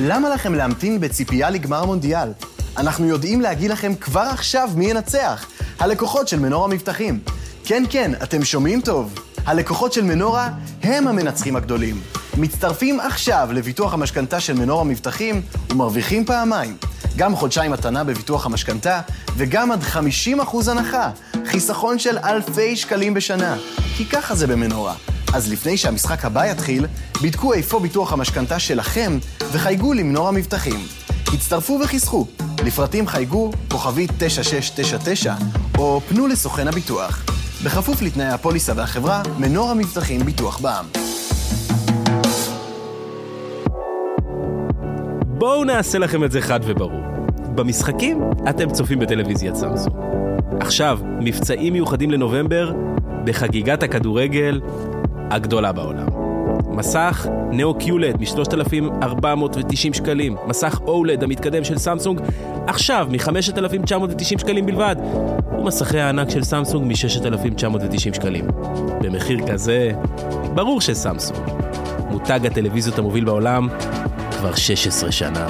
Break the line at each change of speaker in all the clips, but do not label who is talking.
למה לכם להמתין בציפייה לגמר מונדיאל? אנחנו יודעים להגיד לכם כבר עכשיו מי ינצח. הלקוחות של מנורה מבטחים. כן, כן, אתם שומעים טוב. הלקוחות של מנורה הם המנצחים הגדולים. מצטרפים עכשיו לביטוח המשכנתה של מנורה מבטחים ומרוויחים פעמיים. גם חודשיים מתנה בביטוח המשכנתה וגם עד 50% הנחה. חיסכון של אלפי שקלים בשנה. כי ככה זה במנורה. אז לפני שהמשחק הבא יתחיל, בדקו איפה ביטוח המשכנתה שלכם וחייגו למנור המבטחים. הצטרפו וחיסכו. לפרטים חייגו כוכבית 9699 או פנו לסוכן הביטוח. בכפוף לתנאי הפוליסה והחברה, מנור המבטחים ביטוח בע"מ.
בואו נעשה לכם את זה חד וברור. במשחקים אתם צופים בטלוויזיית סמסונג. עכשיו, מבצעים מיוחדים לנובמבר בחגיגת הכדורגל הגדולה בעולם. מסך נאו קיולד מ-3,490 שקלים, מסך אולד המתקדם של סמסונג עכשיו מ-5,990 שקלים בלבד, ומסכי הענק של סמסונג מ-6,990 שקלים. במחיר כזה, ברור שסמסונג, מותג הטלוויזיות המוביל בעולם, כבר 16 שנה.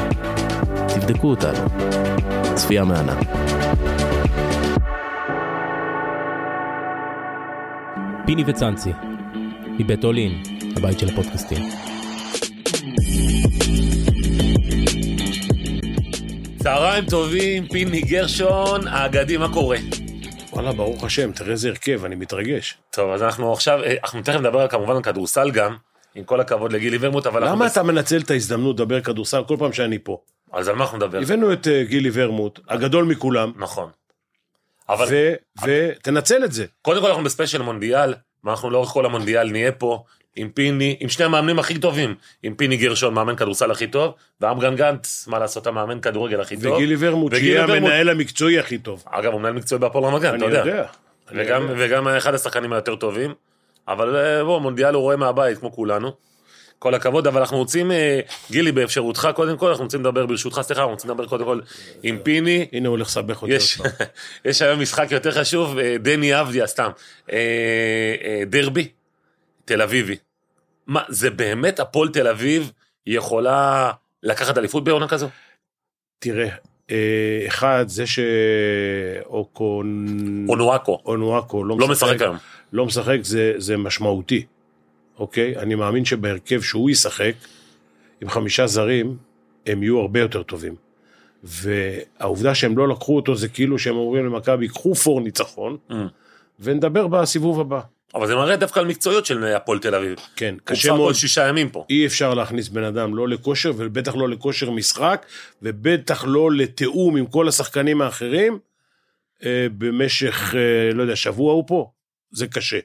תבדקו אותנו. צפייה מהנה. פיני וצאנצי, מבית אולין, הבית של הפודקאסטים.
צהריים טובים, פיני גרשון, האגדי, מה קורה?
וואלה, ברוך השם, תראה איזה הרכב, אני מתרגש.
טוב, אז אנחנו עכשיו, אה, אנחנו תכף נדבר על כמובן על כדורסל גם, עם כל הכבוד לגילי ורמוט, אבל... אנחנו
למה
נס-
אתה מנצל את ההזדמנות לדבר כדורסל כל פעם שאני פה?
אז על מה אנחנו נדבר?
הבאנו את אה, גילי ורמוט, הגדול מכולם,
נכון. אבל
ו- ותנצל את זה.
קודם כל אנחנו בספיישל מונדיאל, ואנחנו לאורך כל המונדיאל נהיה פה עם פיני, עם שני המאמנים הכי טובים, עם פיני גרשון, מאמן כדורסל הכי טוב, ואמגן גנץ, מה לעשות, המאמן כדורגל הכי טוב.
וגילי ורמוט,
וגילי
שיהיה
ורמוט-
המנהל המקצועי הכי טוב.
אגב, הוא מנהל מקצועי בהפועל רמת גן, אתה
אני
יודע.
יודע. אני
וגם,
יודע.
וגם אחד השחקנים היותר טובים. אבל אה, בוא, מונדיאל הוא רואה מהבית, כמו כולנו. כל הכבוד, אבל אנחנו רוצים, אה, גילי, באפשרותך, קודם כל, אנחנו רוצים לדבר, ברשותך, סליחה, אנחנו רוצים לדבר קודם כל עם פיני.
הנה הוא הולך לסבך אותי עוד
יש,
פעם.
יש היום משחק יותר חשוב, אה, דני אבדיה, סתם. אה, אה, דרבי, תל אביבי. מה, זה באמת הפועל תל אביב יכולה לקחת אליפות בעונה כזו?
תראה, אה, אחד, זה שאוקון...
אונואקו,
אונואקו לא,
לא משחק היום.
לא משחק זה, זה משמעותי, אוקיי? אני מאמין שבהרכב שהוא ישחק, עם חמישה זרים, הם יהיו הרבה יותר טובים. והעובדה שהם לא לקחו אותו זה כאילו שהם אומרים למכבי, קחו פור ניצחון,
Mm.
ונדבר בסיבוב הבא.
אבל זה מראה דווקא על מקצועיות של אה, הפועל תל אביב.
כן,
הוא
קשה
בסך הכל
מאוד.
שישה ימים פה.
אי אפשר להכניס בן אדם לא לכושר, ובטח לא לכושר משחק, ובטח לא לתיאום עם כל השחקנים האחרים, אה, במשך, אה, לא יודע, שבוע הוא פה. זה קשה,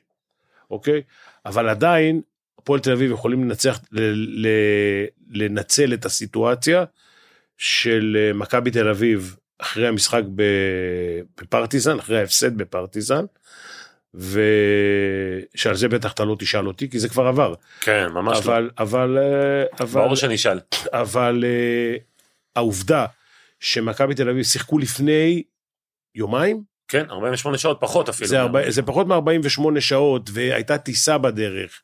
אוקיי? אבל עדיין, הפועל תל אביב יכולים לנצח, ל- ל- לנצל את הסיטואציה של אה, מכבי תל אביב אחרי המשחק ב- בפרטיזן, אחרי ההפסד בפרטיזן, ושעל זה בטח אתה לא תשאל אותי, כי זה כבר עבר.
כן, ממש לא.
אבל, אבל, אה, אבל,
ברור שאני אשאל.
אבל אה, העובדה שמכבי תל אביב שיחקו לפני יומיים,
כן, 48 שעות פחות אפילו.
זה, ארבע, זה פחות מ-48 שעות, והייתה טיסה בדרך,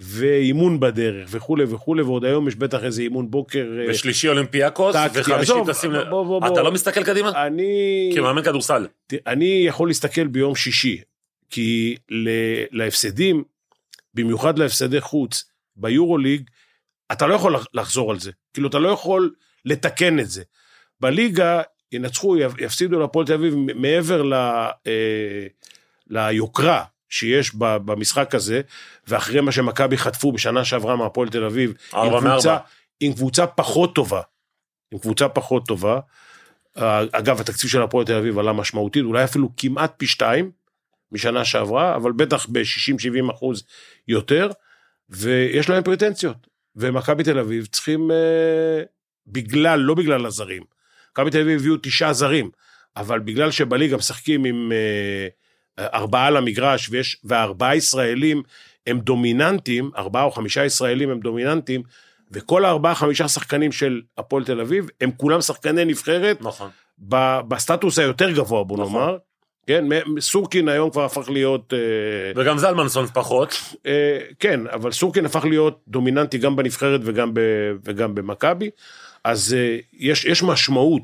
ואימון בדרך, וכולי וכולי, ועוד היום יש בטח איזה אימון בוקר. אה,
ושלישי אולימפיאקוס,
טקטי,
וחמישי
עזוב,
טסים... ל-
בוא, בוא, בוא.
אתה לא מסתכל כן, קדימה?
אני,
כמאמן כדורסל.
ת- אני יכול להסתכל ביום שישי, כי ל- להפסדים, במיוחד להפסדי חוץ, ביורוליג, אתה לא יכול לח- לחזור על זה. כאילו, אתה לא יכול לתקן את זה. בליגה ינצחו, יפ- יפסידו להפועל תל אביב מ- מעבר ל, אה, ליוקרה שיש ב- במשחק הזה, ואחרי מה שמכבי חטפו בשנה שעברה מהפועל תל אביב, עם
ארבע
קבוצה-
מארבע.
עם קבוצה פחות טובה. עם קבוצה פחות טובה. אה, אגב, התקציב של הפועל תל אביב עלה משמעותית, אולי אפילו כמעט פי שתיים משנה שעברה, אבל בטח ב-60-70 אחוז יותר, ויש להם פרטנציות. ומכבי תל אביב צריכים, אה, בגלל, לא בגלל הזרים, מכבי תל אביב הביאו תשעה זרים, אבל בגלל שבליגה משחקים עם אה, ארבעה על המגרש, ויש, והארבעה ישראלים הם דומיננטים, ארבעה או חמישה ישראלים הם דומיננטים, וכל הארבעה, חמישה שחקנים של הפועל תל אביב, הם כולם שחקני נבחרת,
נכון.
ב- בסטטוס היותר גבוה, בוא
נכון.
נאמר. כן, מ- סורקין היום כבר הפך להיות, אה,
וגם זלמנסון פחות.
אה, כן, אבל סורקין הפך להיות דומיננטי גם בנבחרת וגם, ב, וגם במכבי. אז אה, יש, יש משמעות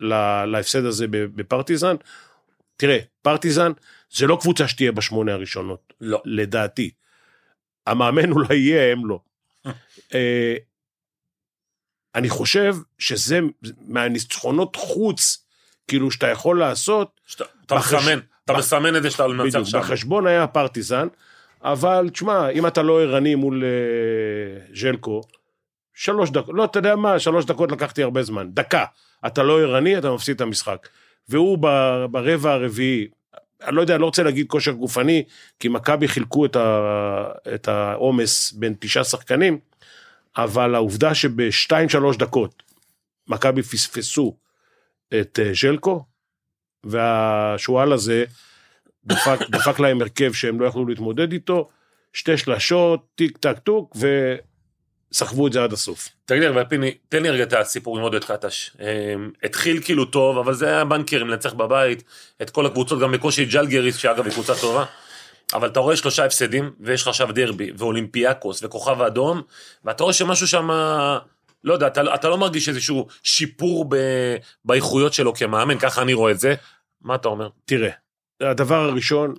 ל- להפסד הזה ב- בפרטיזן. תראה, פרטיזן זה לא קבוצה שתהיה בשמונה הראשונות,
לא.
לדעתי. המאמן אולי יהיה, הם לא. אה, אני חושב שזה מהניצחונות חוץ, כאילו, שאתה יכול לעשות,
שאתה- אתה
בחש-
מסמן, אתה
בח-
מסמן את זה שאתה מנצח
בדיוק,
שם.
בחשבון היה פרטיזן, אבל תשמע, אם אתה לא ערני מול אה, ז'לקו, שלוש דקות, לא, אתה יודע מה, שלוש דקות לקחתי הרבה זמן, דקה. אתה לא ערני, אתה מפסיד את המשחק. והוא ב- ברבע הרביעי, אני לא יודע, אני לא רוצה להגיד כושר גופני, כי מכבי חילקו את ה- את העומס בין תשעה שחקנים, אבל העובדה שבשתיים, שלוש דקות מכבי פספסו את אה, ז'לקו, והשועל הזה דפק, דפק להם הרכב שהם לא יכלו להתמודד איתו, שתי שלשות, טיק טק טוק, וסחבו את זה עד הסוף.
תגיד לי, אבל פיני, תן לי רגע את הסיפור עם עודד קטש. אמ, התחיל כאילו טוב, אבל זה היה בנקרים, לנצח בבית, את כל הקבוצות, גם בקושי ג'לגריס, שאגב היא קבוצה טובה. אבל אתה רואה שלושה הפסדים, ויש לך עכשיו דרבי, ואולימפיאקוס, וכוכב אדום, ואתה רואה שמשהו שם, לא יודע, אתה, אתה לא מרגיש איזשהו שיפור ב, באיכויות שלו כמאמן, ככה אני רואה את זה. מה אתה אומר?
תראה, הדבר הראשון,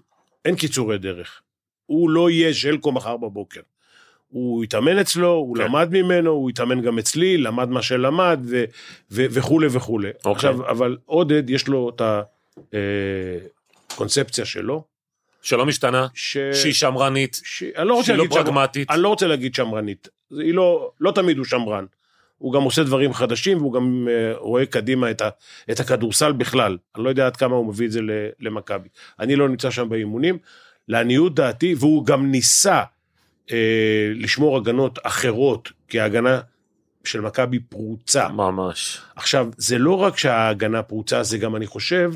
אין קיצורי דרך. הוא לא יהיה ז'לקו מחר בבוקר. הוא התאמן אצלו, הוא
כן.
כן. למד ממנו, הוא התאמן גם אצלי, למד מה שלמד ו- ו- וכולי וכולי.
אוקיי.
עכשיו, אבל עודד, יש לו את הקונספציה שלו,
שלא משתנה,
ש...
שהיא שמרנית,
ש... אה, אני לא רוצה
שהיא לא
להגיד שמרנית.
פרגמטית.
אני לא רוצה להגיד שמרנית. זה- היא לא, לא תמיד הוא שמרן. הוא גם עושה דברים חדשים, והוא גם אה, רואה קדימה את, ה, את הכדורסל בכלל. אני לא יודע עד כמה הוא מביא את זה ל- למכבי. אני לא נמצא שם באימונים. לעניות דעתי, והוא גם ניסה אה, לשמור הגנות אחרות, כי ההגנה של מכבי פרוצה.
ממש.
עכשיו, זה לא רק שההגנה פרוצה, זה גם, אני חושב,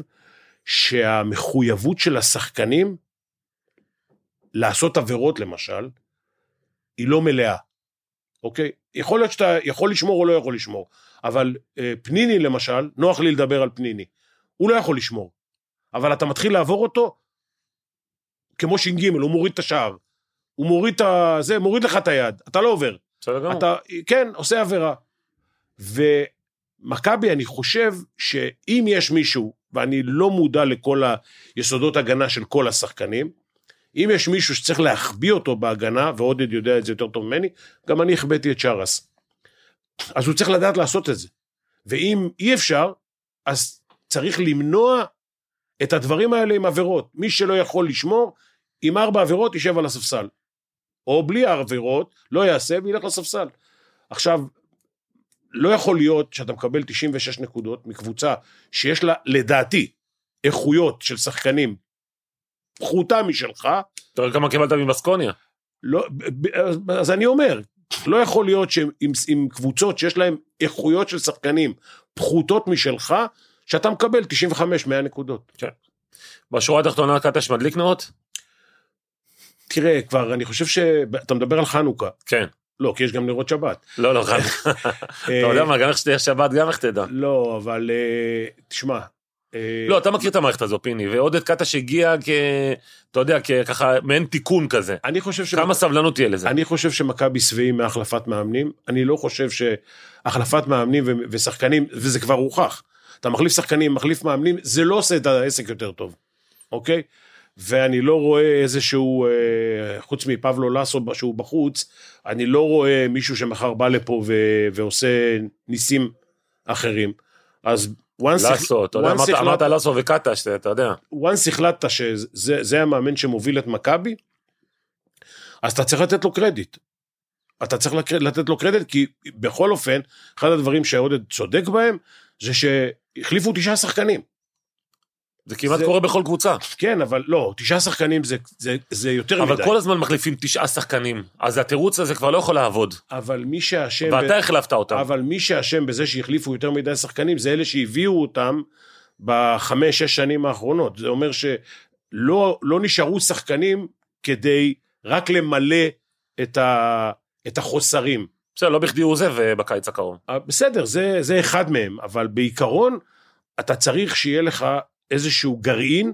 שהמחויבות של השחקנים לעשות עבירות, למשל, היא לא מלאה, אוקיי? יכול להיות שאתה יכול לשמור או לא יכול לשמור, אבל אה, פניני, למשל, נוח לי לדבר על פניני. הוא לא יכול לשמור, אבל אתה מתחיל לעבור אותו כמו ש"ג, הוא מוריד את השער. הוא מוריד את ה... זה, מוריד לך את היד, אתה לא עובר.
בסדר גמור.
אתה, כן, עושה עבירה. ומכבי, אני חושב שאם יש מישהו, ואני לא מודע לכל היסודות הגנה של כל השחקנים, אם יש מישהו שצריך להחביא אותו בהגנה, ועודד יודע את זה יותר טוב ממני, גם אני החבאתי את שרס. אז הוא צריך לדעת לעשות את זה. ואם אי אפשר, אז צריך למנוע את הדברים האלה עם עבירות. מי שלא יכול לשמור, עם ארבע עבירות יישב על הספסל. או בלי העבירות, לא יעשה וילך לספסל. עכשיו, לא יכול להיות שאתה מקבל 96 נקודות מקבוצה שיש לה, לדעתי, איכויות של שחקנים פחותה משלך,
אתה רואה כמה קיבלת ממסקוניה.
לא, ב- ב- אז- אז אני אומר, לא יכול להיות שעם עם, עם קבוצות שיש להן איכויות של שחקנים פחותות משלך, שאתה מקבל 95-100 נקודות.
בשורה התחתונה קטש מדליק נאות?
תראה, כבר, אני חושב ש... אתה מדבר על חנוכה.
כן.
לא, כי יש גם נרות שבת.
לא, לא, חד.
אה,
אתה יודע מה, גם איך שתהיה שבת, גם איך תדע.
לא, אבל אה, תשמע. אה,
לא, אתה מכיר את המערכת הזו, פיני, ועודד קטש הגיע כ... אתה יודע, ככה, מעין תיקון כזה.
אני חושב, ש...
כמה סבלנות תהיה לזה?
אני חושב שמכבי שבעים מהחלפת מאמנים, אני לא חושב שהחלפת מאמנים ו... ושחקנים, וזה כבר הוכח, אתה מחליף שחקנים, מחליף מאמנים, זה לא עושה את העסק יותר טוב, אוקיי? ואני לא רואה איזשהו, אה, חוץ מפבלו לסו שהוא בחוץ, אני לא רואה מישהו שמחר בא לפה ו... ועושה ניסים אחרים. אז once
לאסו, אתה יודע,
once
אמרת-
החלטת-
אמרת לאסו וקטש, אתה יודע.
once החלטת שזה זה המאמן שמוביל את מכבי, אז אתה צריך לתת לו קרדיט. אתה צריך לק- לתת לו קרדיט, כי בכל אופן, אחד הדברים שעודד צודק בהם, זה שהחליפו תשעה שחקנים.
זה כמעט
זה-
קורה בכל קבוצה.
כן, אבל לא, תשעה שחקנים זה, זה, זה יותר מדי.
אבל כל הזמן מחליפים תשעה שחקנים, אז התירוץ הזה כבר לא יכול לעבוד.
אבל מי שאשם... ב-
ואתה החלפת אותם.
כן, אבל מי שאשם בזה שהחליפו יותר מדי שחקנים, זה אלה שהביאו אותם בחמש, שש שנים האחרונות. זה אומר שלא לא נשארו שחקנים כדי רק למלא את, ה, את החוסרים.
בסדר, לא בכדי הוא עוזב אה, בקיץ הקרוב.
אה, בסדר, זה, זה אחד מהם, אבל בעיקרון, אתה צריך שיהיה לך איזשהו גרעין,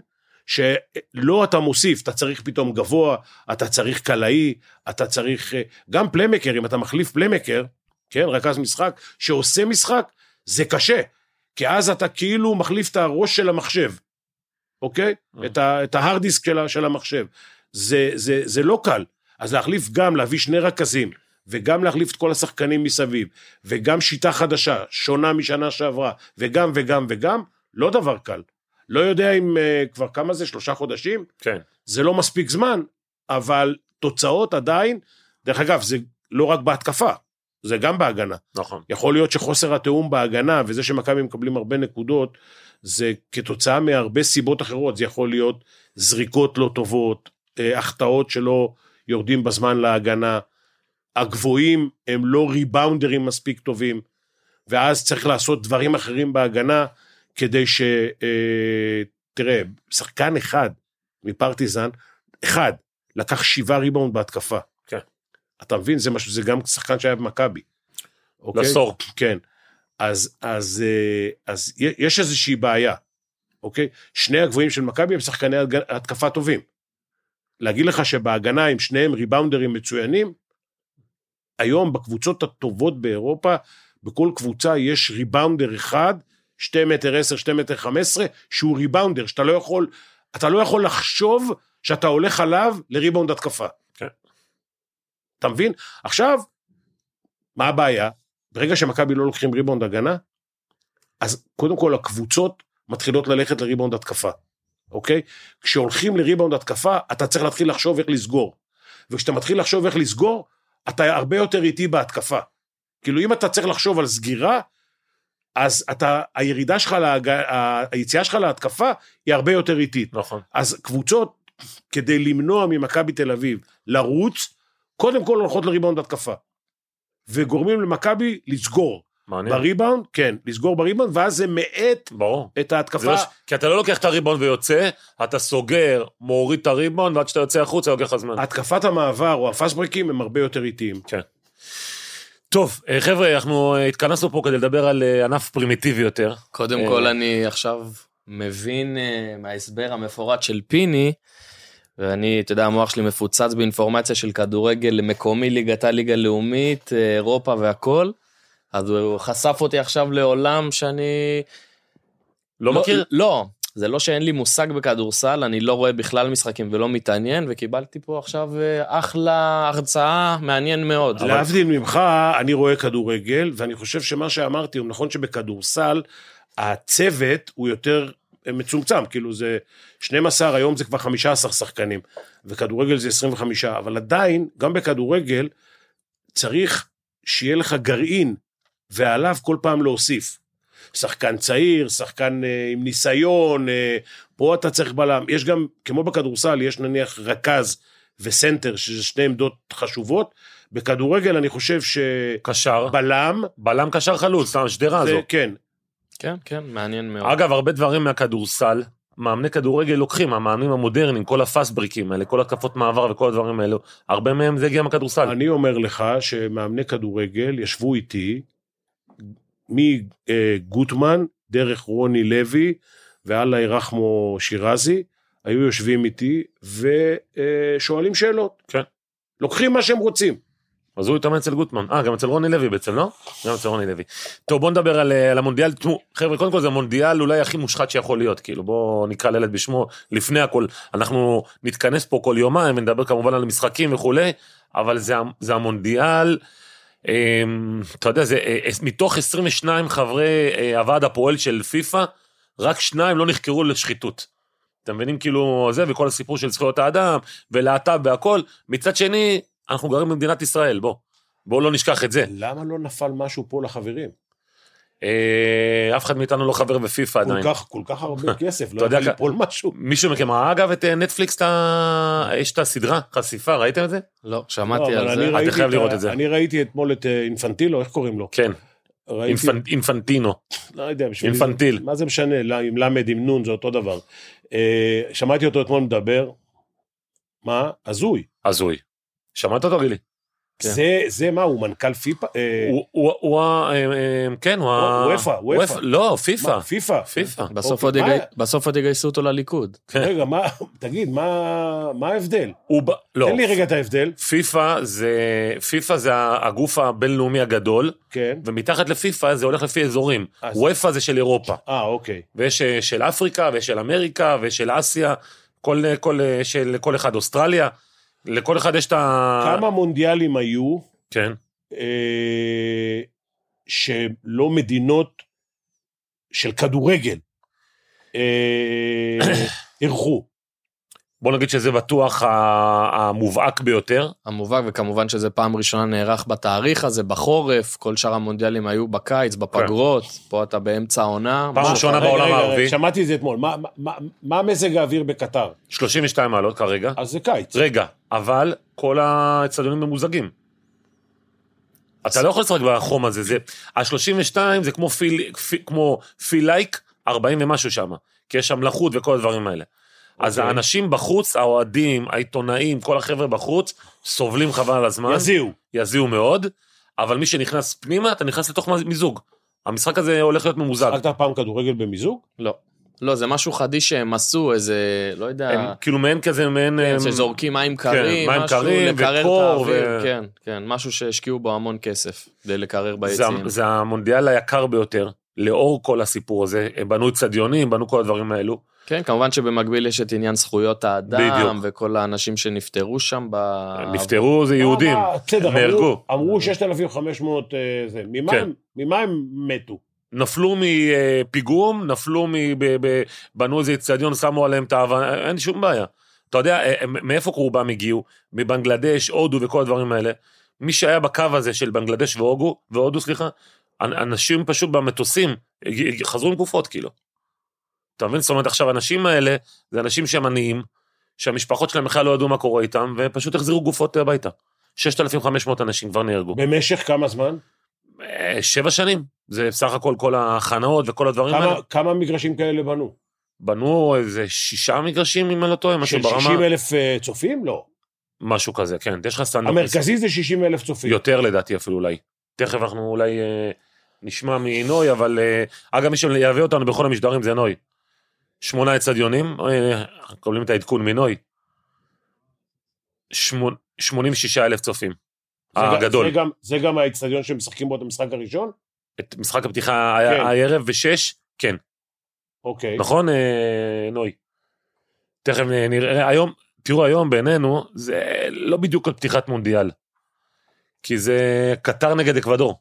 שלא אתה מוסיף, אתה צריך פתאום גבוה, אתה צריך קלעי, אתה צריך... אה, גם פלמקר, אם אתה מחליף פלמקר, כן, רכז משחק, שעושה משחק, זה קשה. כי אז אתה כאילו מחליף את הראש של המחשב, אוקיי? את, ה, את ההארד דיסק של, ה- של המחשב. זה, זה, זה לא קל. אז להחליף גם, להביא שני רכזים, וגם להחליף את כל השחקנים מסביב, וגם שיטה חדשה, שונה משנה שעברה, וגם וגם וגם, לא דבר קל. לא יודע אם uh, כבר כמה זה, שלושה חודשים?
כן.
זה לא מספיק זמן, אבל תוצאות עדיין, דרך אגב, זה לא רק בהתקפה, זה גם בהגנה.
נכון.
יכול להיות שחוסר התיאום בהגנה וזה שמכבי מקבלים הרבה נקודות, זה כתוצאה מהרבה סיבות אחרות, זה יכול להיות זריקות לא טובות, אה, החטאות שלא יורדים בזמן להגנה, הגבוהים הם לא ריבאונדרים מספיק טובים, ואז צריך לעשות דברים אחרים בהגנה כדי ש... אה, תראה, שחקן אחד מפרטיזן, אחד, לקח שבעה ריבאונד בהתקפה.
כן.
אתה מבין? זה משהו, זה גם שחקן שהיה במכבי. אוקיי?
לסור.
כן. אז, אז, אה, אז י- יש איזושהי בעיה, אוקיי? שני הגבוהים של מכבי הם שחקני התג- התקפה טובים. להגיד לך שבהגנה הם שניהם ריבאונדרים מצוינים, היום בקבוצות הטובות באירופה, בכל קבוצה יש ריבאונדר אחד, 2 מטר 10, 2 מטר 15, שהוא ריבאונדר, שאתה לא יכול, אתה לא יכול לחשוב שאתה הולך עליו לריבאונד התקפה.
כן.
אתה מבין? עכשיו, מה הבעיה? ברגע שמכבי לא לוקחים ריבאונד הגנה, אז קודם כל הקבוצות מתחילות ללכת לריבאונד התקפה, אוקיי? כשהולכים לריבאונד התקפה, אתה צריך להתחיל לחשוב איך לסגור. וכשאתה מתחיל לחשוב איך לסגור, אתה הרבה יותר איטי בהתקפה. כאילו אם אתה צריך לחשוב על סגירה, אז אתה, הירידה שלך, להג... ה- היציאה שלך להתקפה היא הרבה יותר איטית.
נכון.
אז קבוצות, כדי למנוע ממכבי תל אביב לרוץ, קודם כל הולכות לריבאונד התקפה. וגורמים למכבי לסגור
מעניין.
בריבאונד, כן, לסגור בריבאונד, ואז זה מאט
ברור.
את
זה לא
ההתקפה.
ש- כי אתה לא לוקח את הריבון ויוצא, אתה סוגר, מוריד את הריבון, ועד שאתה יוצא החוצה לוקח לך זמן.
התקפת המעבר או הפאסט ברקים הם הרבה יותר איטיים.
כן. טוב, אה, חבר'ה, אנחנו אה, התכנסנו פה כדי לדבר על אה, ענף פרימיטיבי יותר.
קודם
אה.
כל, אני עכשיו מבין אה, מההסבר המפורט של פיני, ואני, אתה יודע, המוח שלי מפוצץ באינפורמציה של כדורגל מקומי, ליגת הליגה לאומית, אה, אירופה והכול. אז הוא חשף אותי עכשיו לעולם שאני...
לא מכיר?
לא, זה לא שאין לי מושג בכדורסל, אני לא רואה בכלל משחקים ולא מתעניין, וקיבלתי פה עכשיו אה, אחלה הרצאה, מעניין מאוד.
להבדיל ממך, אני רואה כדורגל, ואני חושב שמה שאמרתי הוא נכון שבכדורסל, הצוות הוא יותר מצומצם, כאילו זה 12, היום זה כבר 15 שחקנים, וכדורגל זה 25, אבל עדיין, גם בכדורגל, צריך שיהיה לך גרעין, ועליו כל פעם להוסיף. שחקן צעיר, שחקן אה, עם ניסיון, אה, פה אתה צריך בלם. יש גם, כמו בכדורסל, יש נניח רכז וסנטר, שזה שתי עמדות חשובות. בכדורגל אני חושב שבלם,
קשר. בלם קשר חלוץ, סתם, שדרה
זה
הזו.
כן,
כן, כן, מעניין מאוד.
אגב, הרבה דברים מהכדורסל, מאמני כדורגל לוקחים, המאמנים המודרניים, כל הפסבריקים האלה, כל התקפות מעבר וכל הדברים האלו, הרבה מהם זה הגיע מהכדורסל.
אני אומר לך שמאמני כדורגל ישבו איתי מגוטמן, דרך רוני לוי, ואללה ירחמו שירזי, היו יושבים איתי ושואלים שאלות.
כן.
לוקחים מה שהם רוצים.
אז הוא התאמן אצל גוטמן. אה, גם אצל רוני לוי בעצם, לא? גם אצל רוני לוי. טוב, בוא נדבר על, אה, על המונדיאל. תשמעו, חבר'ה, קודם כל זה המונדיאל אולי הכי מושחת שיכול להיות, כאילו, בואו נקרא לילד בשמו לפני הכל. אנחנו נתכנס פה כל יומיים ונדבר כמובן על משחקים וכולי, אבל זה, ה- זה המונדיאל, אה, אתה יודע, זה, אה, אה, מתוך 22 חברי אה, הוועד הפועל של פיפ"א, רק שניים לא נחקרו לשחיתות. אתם מבינים כאילו זה וכל הסיפור של זכויות האדם ולהט"ב והכל. מצד שני, אנחנו גרים במדינת ישראל, בוא. בואו לא נשכח את זה.
למה לא נפל משהו פה לחברים?
אה, אף אחד מאיתנו לא חבר בפיפ"א
כל
עדיין.
כך, כל כך הרבה כסף,
אתה
לא
יודע,
יכול ליפול משהו.
מישהו מכם ראה אגב את אה, נטפליקס, את ה- יש את הסדרה, חשיפה, ראיתם את זה?
לא,
לא,
שמעתי
אבל
על
אני
זה.
ראיתי
חייב
ה-
לראות את זה.
אני ראיתי אתמול את אה, אינפנטילו, איך קוראים לו?
כן,
ראיתי-
אינפנ- אינפנטינו.
לא יודע, בשבילי...
אינפנטיל.
מה זה משנה, לא, עם למד, עם נון, זה אותו דבר. אה, שמעתי אותו אתמול מדבר, מה? הזוי. אה.
הזוי. שמעת אותו גילי?
כן.
זה, זה מה, הוא מנכ"ל פיפ"א? אה,
הוא- הוא- הוא ה... אה, אה, כן, הוא ה...
הוא- וופא,
הוא
וופא.
ה- לא, פיפ"א.
מה, פיפ"א?
פיפ"א.
בסוף
אוקיי,
עוד
מה-
יגי- בסוף עוד יגייסו אותו לליכוד.
רגע, מה, תגיד, מה, מה ההבדל?
הוא ב- לא,
תן לי רגע את ההבדל.
פיפ"א זה... פיפ"א זה הגוף הבינלאומי הגדול,
כן.
ומתחת לפיפ"א זה הולך לפי אזורים.
אז-
וופא זה של אירופה.
אה, אוקיי.
ויש אה, של אפריקה, ויש של אמריקה, ויש של אסיה, כל, אה, כל, אה, של כל אחד אוסטרליה, לכל אחד יש את ה...
כמה מונדיאלים היו
כן.
אה, שלא מדינות של כדורגל אה, אירחו?
בוא נגיד שזה בטוח ה- המובהק ביותר.
המובהק, וכמובן שזה פעם ראשונה נערך בתאריך הזה, בחורף, כל שאר המונדיאלים היו בקיץ, בפגרות, פה אתה באמצע העונה.
כן. פעם
מה-
ראשונה
רגע,
בעולם
רגע, רגע,
הערבי.
שמעתי את זה אתמול. מה- מה- מה- מה מזג האוויר בקטר?
32 מעלות כרגע.
אז זה קיץ.
רגע, אבל כל האצטדיונים ממוזגים. אתה לא יכול לשחק בחום הזה, זה... ה-32 זה כמו פיל, פי, כמו פיל לייק 40 ומשהו שם, כי יש שם לחות וכל הדברים האלה. אז
אוקיי.
האנשים בחוץ, האוהדים, העיתונאים, כל החבר'ה בחוץ, סובלים חבל על הזמן.
יזיעו.
יזיעו מאוד, אבל מי שנכנס פנימה, אתה נכנס לתוך מיזוג. המשחק הזה הולך להיות ממוזג.
שחקת פעם כדורגל במיזוג?
לא. לא, זה משהו חדיש שהם עשו, איזה, לא יודע,
הם כאילו מעין כזה, מעין...
כן,
הם-
שזורקים מים קרים,
מים
משהו,
קרים
לקרר
וקור
את האוויר,
ו-
כן, כן, משהו שהשקיעו בו המון כסף, כדי לקרר
זה,
ביציעים.
זה המונדיאל היקר ביותר, לאור כל הסיפור הזה. הם בנו אצטדיונים, בנו כל הדברים האלו.
כן, כמובן שבמקביל יש את עניין זכויות
בדיוק.
האדם, וכל האנשים שנפטרו שם ב...
הם נפטרו, זה יהודים.
אה, בסדר,
הם נהרגו.
אמרו- אמרו 6,500 אה, זה. ממה
כן.
הם- ממה הם מתו?
נפלו מפיגום, נפלו מ... ב- ב- בנו איזה אצטדיון, שמו עליהם את האבן, אין שום בעיה. אתה יודע, אה, הם- מאיפה רובם הגיעו? מבנגלדש, הודו וכל הדברים האלה. מי שהיה בקו הזה של בנגלדש והודו, והודו, סליחה, אנ- אנשים פשוט במטוסים הג- חזרו עם גופות, כאילו. אתה מבין? זאת אומרת, עכשיו, האנשים האלה, זה אנשים שהם עניים, שהמשפחות שלהם בכלל לא ידעו מה קורה איתם, ופשוט החזירו גופות הביתה. 6,500 אנשים כבר נהרגו.
במשך כמה זמן?
אה, שבע שנים. זה בסך הכל כל ההכנות וכל הדברים האלה.
כמה- כמה מגרשים כאלה בנו?
בנו איזה שישה מגרשים, אם אני לא טועה, משהו
של
ברמה...
60 אלף צופים? לא. מספיק.
משהו כזה, כן. יש לך סטנדרט.
המרכזי זה 60 אלף צופים.
יותר לדעתי אפילו אולי. תכף אנחנו אולי אה, נשמע מנוי, אבל אה, אגב, מי שילווה אותנו בכל המשדרים זה נוי. שמונה אצטדיונים, אה, אנחנו מקבלים את העדכון מנוי. שמונ- 86 אלף צופים.
זה גם-
אה, הגדול.
זה גם- זה גם האיצטדיון שמשחקים בו את המשחק הראשון?
את משחק הפתיחה היה-
כן.
הערב בשש, כן.
אוקיי.
נכון, אה, נוי? תכף אה, נראה, היום, תראו, היום בעינינו, זה לא בדיוק על פתיחת מונדיאל. כי זה קטר נגד אקוודור.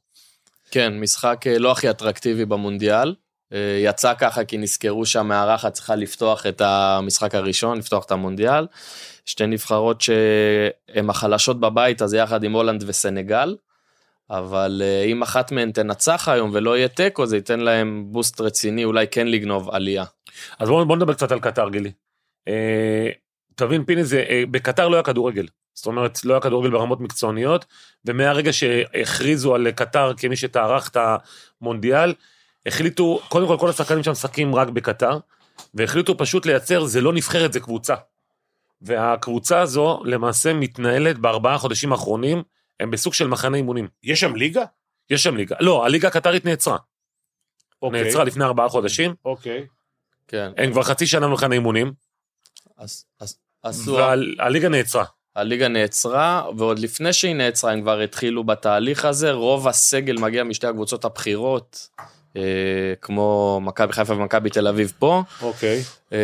כן, משחק אה, לא הכי אטרקטיבי במונדיאל. אה, יצא ככה כי נזכרו שהמארחת צריכה לפתוח את המשחק הראשון, לפתוח את המונדיאל. שתי נבחרות שהן החלשות בבית, אז יחד עם הולנד וסנגל. אבל אה, אם אחת מהן תנצח היום ולא יהיה תיקו, זה ייתן להם בוסט רציני, אולי כן לגנוב עלייה.
אז בואו בוא נדבר קצת על קטר, גילי. אה, תבין, פיני, זה, אה, בקטר לא היה כדורגל. זאת אומרת, לא היה כדורגל ברמות מקצועניות, ומהרגע שהכריזו על קטר כמי שתערך את המונדיאל, החליטו, קודם כל, כל השחקנים שם משחקים רק בקטר, והחליטו פשוט לייצר, זה לא נבחרת, זה קבוצה. והקבוצה הזו למעשה מתנהלת בארבעה חודשים האחרונים, הם בסוג של מחנה אימונים.
יש שם ליגה?
יש שם ליגה, לא, הליגה הקטרית נעצרה.
אוקיי.
נעצרה לפני ארבעה חודשים,
אוקיי.
כן,
הם כבר חצי שנה במחנה אימונים,
אז... אז עשו...
והליגה לא, נעצרה.
הליגה נעצרה, ועוד לפני שהיא נעצרה הם כבר התחילו בתהליך הזה. רוב הסגל מגיע משתי הקבוצות הבכירות, אה, כמו מכבי חיפה ומכבי תל אביב פה.
אוקיי.
אה,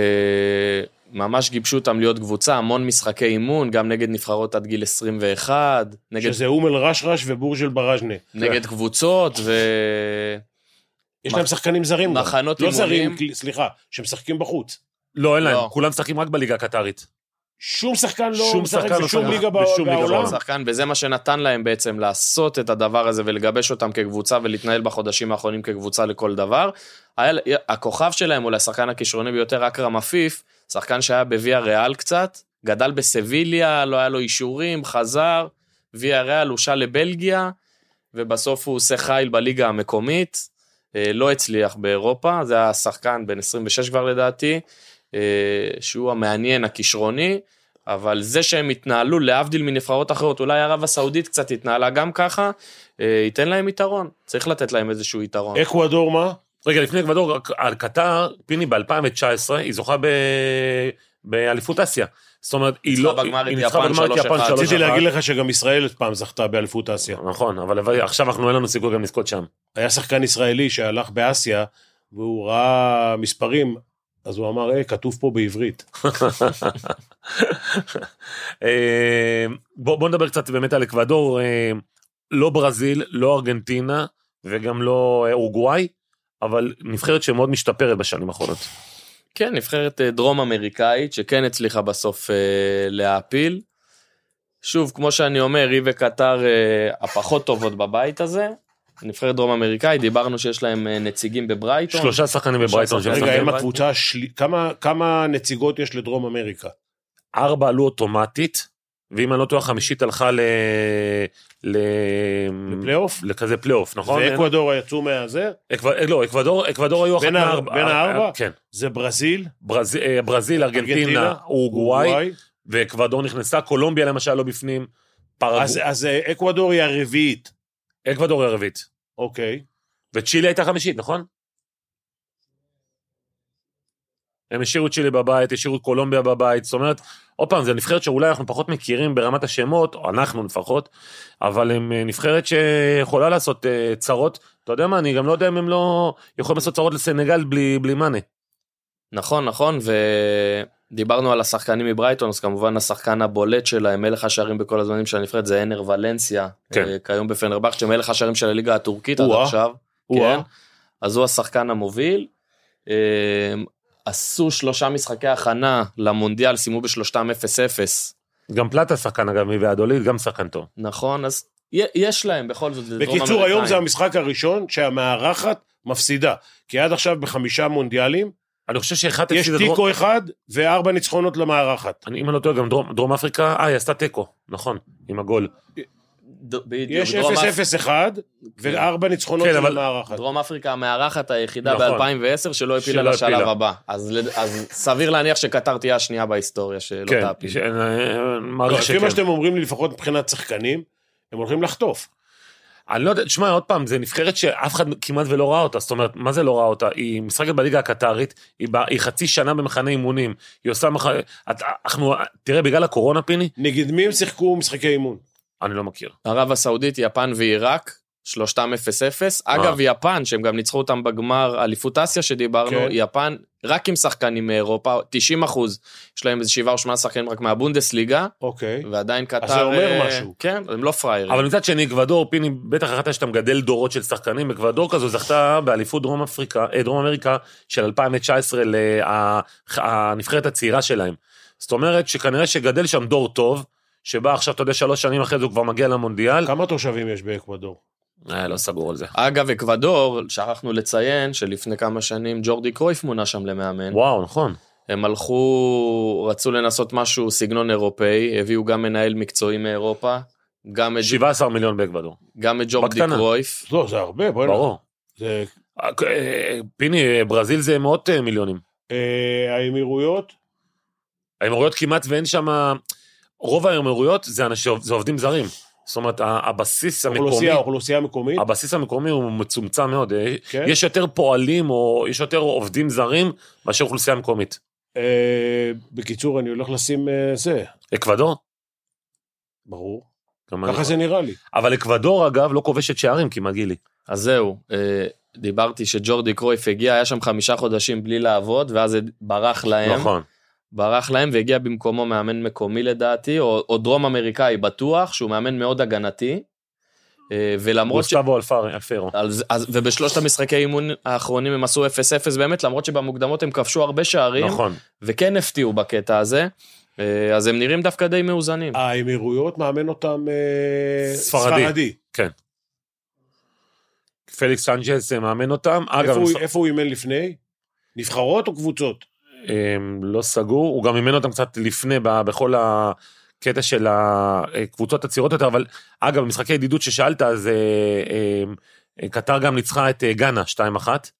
ממש גיבשו אותם להיות קבוצה, המון משחקי אימון, גם נגד נבחרות עד גיל 21, נגד,
שזה אום אל-רשרש ובורג'ל בראז'נה.
נגד קבוצות, ו...
יש
מח-
להם שחקנים זרים. גם.
מחנות
לא
אימונים.
זרים, כל- סליחה, שמשחקים בחוץ.
לא, אין להם,
לא.
כולם משחקים רק בליגה הקטרית.
שום שחקן לא
שום
משחק
שחקן לא
בשום
שחק
ליגה
בשום ליגה
בעולם.
בעולם.
שחקן, וזה מה שנתן להם בעצם לעשות את הדבר הזה ולגבש אותם כקבוצה ולהתנהל בחודשים האחרונים כקבוצה לכל דבר. היה, הכוכב שלהם, אולי השחקן הכישרוני ביותר, אכרם עפיף, שחקן שהיה בוויה ריאל קצת, גדל בסביליה, לא היה לו אישורים, חזר, ויה ריאל הושל לבלגיה, ובסוף הוא עושה חיל בליגה המקומית, אה, לא הצליח באירופה, זה היה שחקן בן 26 כבר לדעתי, אה, שהוא המעניין, הכישרוני, אבל זה שהם התנהלו, להבדיל מנבחרות אחרות, אולי ערב הסעודית קצת התנהלה גם ככה, אה, ייתן להם יתרון. צריך לתת להם איזשהו יתרון.
אקוודור מה?
רגע, לפני אקוודור, רק על קטר, פיני ב-2019, היא זוכה ב... באליפות אסיה. זאת אומרת, היא
ניצחה
לא...
בגמר את
היא ניצחה
יפן
בגמר את
3-1.
יפן 3-1.
רציתי להגיד לך שגם ישראל פעם זכתה באליפות אסיה.
נכון, אבל אבל עכשיו אנחנו, אין לנו סיכוי גם לזכות שם.
היה שחקן ישראלי שהלך באסיה, והוא ראה מספרים, אז הוא אמר, אה, כתוב פה בעברית.
אה, בוא, בוא נדבר קצת באמת על אקוודור, אה, לא ברזיל, לא ארגנטינה וגם לא אה, אורוגוואי, אבל נבחרת שמאוד משתפרת בשנים האחרונות.
כן, נבחרת אה, דרום אמריקאית, שכן הצליחה בסוף אה, להעפיל. שוב, כמו שאני אומר, היא וקטר אה, הפחות טובות בבית הזה. נבחרת דרום אמריקאית, דיברנו שיש להם אה, נציגים בברייטון.
שלושה שחקנים בברייטון,
שלושה
שהם
רגע,
שחקנים.
הם
שחקנים.
הבנתי.
הקבוצה השלי... כמה, כמה נציגות יש לדרום אמריקה?
Mm. ארבע עלו אוטומטית, ואם אני לא טועה, חמישית הלכה ל... ל...
לפלייאוף?
לכזה פלייאוף, נכון?
ואקוודור יצאו מהזה?
אקו- לא, אקוודור, אקוודור היו אחת
בין האר-
מארבע.
בין הארבע?
כן.
זה ברזיל,
ברזיל, אה, ברזיל ארגנטינה,
ארגנטינה,
אורוגוואי,
אורוגוואי.
ואקוודור נכנסה, קולומביה למשל לא בפנים,
אז,
פרגו,
אז אה, אקוודור היא הרביעית.
אקוודור היא הרביעית.
אוקיי.
וצ'ילה הייתה חמישית, נכון? הם השאירו את צ'ילה בבית, השאירו את קולומביה בבית, זאת אומרת, עוד פעם, זו נבחרת שאולי אנחנו פחות מכירים ברמת השמות, או אנחנו לפחות, אבל הם אה, נבחרת שיכולה לעשות אה, צרות. אתה יודע מה, אני גם לא יודע אם הם לא יכולים לעשות צרות לסנגל בלי, בלי מאנה.
נכון, נכון, ודיברנו על השחקנים מברייטון, אז כמובן השחקן הבולט שלהם, מלך השערים בכל הזמנים של הנבחרת, זה הנר ולנסיה.
כן.
אה, כיום בפנרבכצ'ה, מלך השערים של הליגה הטורקית עד
או-אה.
עכשיו.
או-אה.
כן. אז הוא השחקן המוביל. אה, עשו שלושה משחקי הכנה למונדיאל, סיימו בשלושתם 0-0.
גם פלטה שחקן אגב מוועדוליד, גם שחקן טוב.
נכון, אז י- יש להם בכל זאת, זה דרום
בקיצור, היום זה
אמריקאים.
המשחק הראשון שהמארחת מפסידה. כי עד עכשיו בחמישה מונדיאלים,
אני חושב שאחד
יש
הפסיד לדרום-
תיקו אחד וארבע ניצחונות למארחת.
אני, אם אני לא טועה, גם דרום, דרום אפריקה, אה, היא עשתה תיקו, נכון, עם הגול.
ד- בדיוק,
יש
דרום אפ-
0-0-1 וארבע ניצחונות
לא כן, אבל-
למארחת.
דרום אפריקה המארחת היחידה
נכון.
ב-2010 שלא הפילה
שלא
לשלב
הפילה.
הבא. אז לד- אז סביר להניח שקטר תהיה השנייה בהיסטוריה שלא
כן,
תעפיל.
ש- אה, מעריך
לא, לפי
שכן.
מה שאתם אומרים לי, לפחות מבחינת שחקנים, הם הולכים לחטוף.
אני לא יודע, תשמע, עוד פעם, זה נבחרת שאף אחד כמעט ולא ראה אותה, זאת אומרת, מה זה לא ראה אותה? היא משחקת בליגה הקטרית, היא, בא- היא חצי שנה במחנה אימונים, היא עושה מח... את- אנחנו, תראה, בגלל הקורונה, פיני,
נגד מי הם שיחקו משחקי אימון?
אני לא מכיר.
ערב הסעודית, יפן ועיראק, שלושתם 0-0.
אה.
אגב, יפן, שהם גם ניצחו אותם בגמר אליפות אסיה שדיברנו,
כן.
יפן רק עם שחקנים מאירופה, 90 אחוז, יש להם איזה שבעה או שמונה שחקנים רק מהבונדסליגה,
אוקיי.
ועדיין קטר...
זה אומר
אה,
משהו.
כן, הם לא פראיירים.
אבל מצד שני, אקוודור, פיני, בטח החלטת שאתה מגדל דורות של שחקנים, אקוודור כזו זכתה באליפות דרום אפריקה, אה, דרום אמריקה של 2019 לנבחרת הצעירה שלהם. זאת אומרת שכנראה שגדל שם דור טוב, שבא עכשיו, אתה יודע, שלוש שנים אחרי זה הוא כבר מגיע למונדיאל.
כמה תושבים יש באקוודור?
אה, לא סגור על זה.
אגב, אקוודור, שכחנו לציין שלפני כמה שנים ג'ורדי קרויף מונה שם למאמן.
וואו, נכון.
הם הלכו, רצו לנסות משהו סגנון אירופאי, הביאו גם מנהל מקצועי מאירופה, גם את,
17 מיליון באקוודור,
גם את ג'ורדי
בקטנה.
קרויף.
לא, זה הרבה, בוא'נה.
ברור.
זה-
אה, אה, פיני, אה, ברזיל זה מאות אה, מיליונים.
אה, האמירויות?
האמירויות כמעט ואין שם... רוב האמירויות זה אנשים, זה עובדים זרים. זאת אומרת, ה- הבסיס המקומי...
אוכלוסייה, אוכלוסייה מקומית?
הבסיס המקומי הוא מצומצם מאוד. אה,
כן.
יש יותר פועלים או יש יותר עובדים זרים מאשר אוכלוסייה מקומית.
אה, בקיצור, אני הולך לשים אה, זה,
אקוודור?
ברור.
גם
ככה
אני- לא.
זה נראה לי.
אבל אקוודור, אגב, לא כובשת שערים כמעט גילי.
אז זהו, אה, דיברתי שג'ורדי קרויף הגיע, היה שם חמישה חודשים בלי לעבוד, ואז ברח להם,
נכון.
ברח להם והגיע במקומו מאמן מקומי לדעתי, או, או דרום אמריקאי בטוח, שהוא מאמן מאוד הגנתי, אה, ולמרות ש...
גוסטבו אלפאר- אלפרו.
אז, אז, ובשלושת המשחקי אימון האחרונים הם עשו 0-0 באמת, למרות שבמוקדמות הם כבשו הרבה שערים,
נכון.
וכן הפתיעו בקטע הזה, אה, אז הם נראים דווקא די מאוזנים.
אה,
האמירויות מאמן אותם אה,
ספרדי.
ספרדי.
פליקס סנג'ס אה, מאמן אותם. אגב,
איפה
הם
הוא- איפה הוא אימן לפני? נבחרות או קבוצות?
אמ, לא סגור, הוא גם אימן אותם קצת לפני ב- בכל הקטע של הקבוצות הצעירות יותר, אבל אגב, משחקי ידידות ששאלת, אז אה, אמ, אה, קטר גם ניצחה את אה, גאנה 2-1,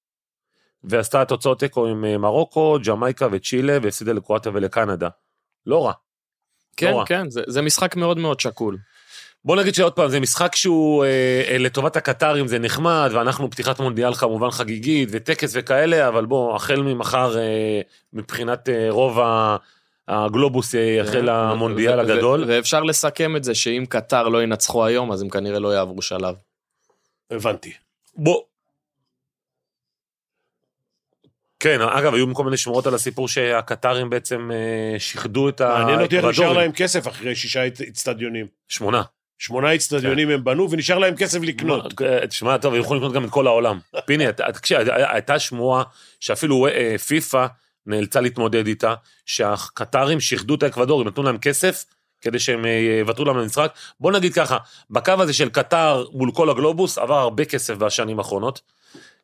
ועשתה תוצאות תיקו עם אה, מרוקו, ג'מייקה וצ'ילה, והפסידה לקרואטיה ולקנדה. לא רע.
כן,
נורא.
כן, זה- זה משחק מאוד מאוד שקול.
בוא נגיד שעוד פעם, זה משחק שהוא אה, אה, לטובת הקטרים, זה נחמד, ואנחנו פתיחת מונדיאל כמובן חגיגית, וטקס וכאלה, אבל בוא, החל ממחר, אה, מבחינת אה, רוב ה- הגלובוס,
כן,
אה, החל המונדיאל
ו- ו-
הגדול.
ו- ואפשר לסכם את זה שאם קטר לא ינצחו היום, אז הם כנראה לא יעברו שלב.
הבנתי.
בוא. כן, אגב, היו כל מיני שמועות על הסיפור שהקטרים בעצם אה, שיחדו את ה...
מעניין אותי איך נשאר
האקוודורים.
להם כסף אחרי שישה אצ- אצטדיונים.
שמונה. כן.
שמונה אצטדיונים הם בנו, ונשאר להם כסף לקנות.
מה, אה, תשמע, טוב, הם יכולים לקנות גם את כל העולם. פיני, אתה- תקשיב, היה- הייתה שמועה שאפילו אה, פיפ"א נאלצה להתמודד איתה, שהקטרים שיחדו את האקוודורים, נתנו להם כסף כדי שהם אה, יוותרו להם למשחק. בוא נגיד ככה, בקו הזה של קטר מול כל הגלובוס עבר הרבה כסף בשנים האחרונות.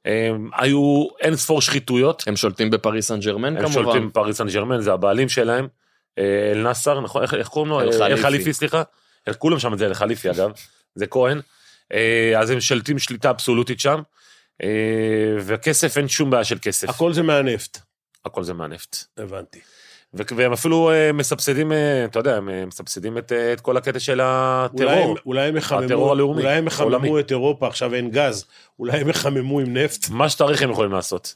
אה, היו אין ספור שחיתויות.
הם שולטים בפריס סן ג'רמן
הם
כמובן.
שולטים בפריס סן ג'רמן, זה הבעלים שלהם. אה, אל נסר, נכון? איך- איך קוראים לו?
אל
אה,
חליפי.
סליחה. אל- כולם שם זה אל חליפי, אגב. זה כהן. אה, אז הם שולטים שליטה אבסולוטית שם. אה, וכסף, אין שום בעיה של כסף.
הכל זה מהנפט.
הכל זה מהנפט.
הבנתי.
ו- והם אפילו אה, מסבסדים, אה, אתה יודע, הם אה, מסבסדים את אה, את כל הקטע של
אולי הם-
הטרור.
אולי הם
הטרור
יחממו-
הלאומי,
אולי הם יחממו
העולמי.
את אירופה, עכשיו אין גז. אולי הם יחממו עם נפט.
מה שצריך הם יכולים לעשות.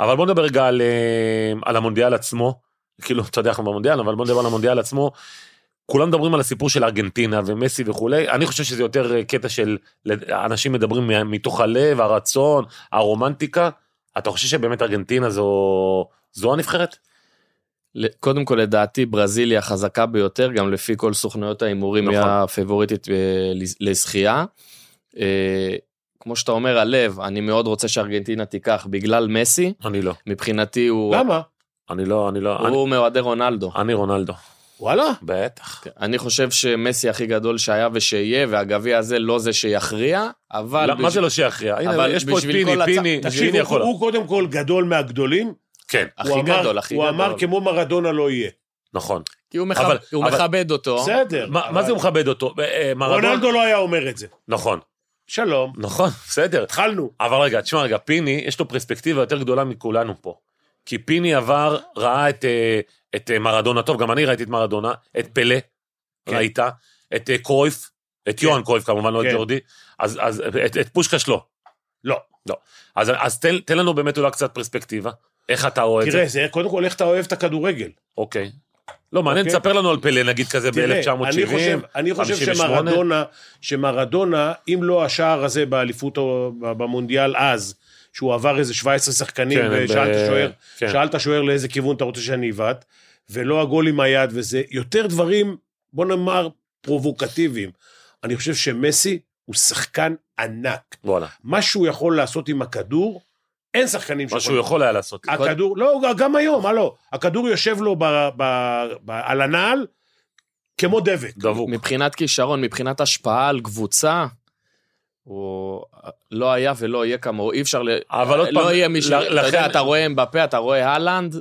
אבל בוא נדבר רגע על, אה, על המונדיאל עצמו. כאילו, אתה יודע, אנחנו במונדיאל, אבל בוא נדבר על המונדיאל עצמו. כולם מדברים על הסיפור של ארגנטינה ומסי וכולי, אני חושב שזה יותר אה, קטע של לד- אנשים מדברים מה- מתוך הלב, הרצון, הרומנטיקה. אתה חושב שבאמת ארגנטינה זו, זו הנבחרת?
ל- קודם כל, לדעתי, ברזיל היא החזקה ביותר, גם לפי כל סוכנויות ההימורים, היא
נכון.
הפיבוריטית אה, לז- לזכייה. אה, כמו שאתה אומר, הלב, אני מאוד רוצה שארגנטינה תיקח בגלל מסי,
אני לא.
מבחינתי הוא...
למה?
אני לא, אני לא, אני,
הוא מאוהדי רונלדו.
אני רונלדו.
וואלה.
בטח.
אני חושב שמסי הכי גדול שהיה ושיהיה, והגביע הזה לא זה שיכריע, אבל...
לא, מה זה לא שיכריע? הנה,
אבל
יש פה את
בשביל
פיני,
כל הצ-
פיני,
תקשיב,
פיני
הוא-
יכול.
הוא קודם כל גדול מהגדולים.
כן,
הכי
הוא אמר-
גדול, הכי
הוא
גדול.
אמר כמו מרדונה לא יהיה.
נכון.
כי הוא, מכב...
אבל-
הוא
אבל-
מכבד אותו.
בסדר.
לא? מה
אבל-
מה זה הוא מכבד אותו? אה, אה, מרדונה?
רונלדו לא היה אומר את זה.
נכון.
שלום.
נכון, בסדר.
התחלנו.
אבל רגע, תשמע רגע, פיני, יש לו פרספקטיבה יותר גדולה מכולנו פה. כי פיני עבר, ראה את, אה, את אה, מרדונה, טוב, גם אני ראיתי את מרדונה, את פלא,
כן.
ראית, את אה, קרויף, את יוהאן קרויף כמובן, לא את
כן.
ג'ורדי, אז, אז את, את פושקש לא.
לא.
לא. אז, אז תן, תן לנו באמת אולי קצת פרספקטיבה, איך אתה רואה את זה.
תראה, זה קודם כל איך אתה אוהב את הכדורגל.
אוקיי. לא, מעניין,
אוקיי.
תספר לנו על פלא, נגיד כזה
תראה, אני חושב,
ב-1970.
אני חושב
58.
שמרדונה, שמרדונה, אם לא השער הזה באליפות או ב- במונדיאל אז, שהוא עבר איזה 17 שחקנים,
כן,
ושאלת
ב-
שוער,
כן.
שאלת שוער לאיזה כיוון אתה רוצה שאני אבעט, ולא הגול עם היד וזה, יותר דברים, בוא נאמר, פרובוקטיביים. אני חושב שמסי הוא שחקן ענק.
וואלה,
מה שהוא יכול לעשות עם הכדור, אין שחקנים
מה שהוא יכול היה לעשות.
הכדור, לא, גם היום, מה לא? הכדור יושב לו ב- ב- ב- על הנעל כמו דבק.
דבוק.
מבחינת כישרון, מבחינת השפעה על קבוצה, הוא לא היה ולא יהיה כמוהו, אי אפשר ל...
אבל
אה,
עוד
לא
פעם,
יהיה מישהו,
לכן-
אתה יודע, אתה רואה אמבפה, אתה רואה הלנד,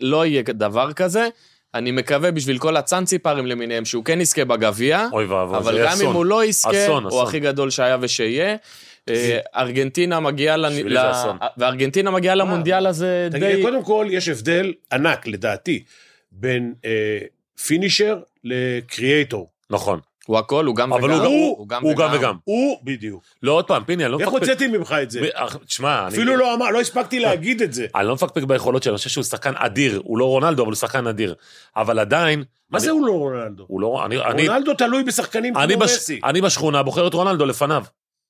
לא יהיה דבר כזה. אני מקווה בשביל כל הצאנציפרים למיניהם שהוא כן יזכה בגביע,
אוי ואבוי, זה
אבל גם אם
אסון.
הוא לא יזכה,
אסון,
הוא
אסון.
הכי גדול שהיה ושיהיה. אה, ארגנטינה מגיעה לנ-
בשבילי זה
ל...
אסון.
וארגנטינה מגיעה למונדיאל הזה
תגיד,
די...
לי, קודם כל, יש הבדל ענק, לדעתי, בין אה, פינישר לקריאייטור.
נכון.
הוא הכל, הוא גם
אבל
וגם.
הוא הוא גם וגם.
הוא, בדיוק.
לא, עוד פעם, פיני, אני לא
איך
מפקפק.
הוצאתי ממך את זה?
ב- אך, תשמע, אני... אה.
אפילו לא אמר, לא הספקתי להגיד את זה.
אני לא מפקפק ביכולות שלו, אני חושב שהוא שחקן אדיר. הוא לא רונלדו, אבל הוא שחקן אדיר. אבל עדיין...
מה
אני-
זה הוא לא רונלדו?
הוא לא... אני... אני-
רונלדו תלוי בשחקנים
אני
כמו
בש-
מסי.
אני בשכונה בוחר את רונלדו לפניו.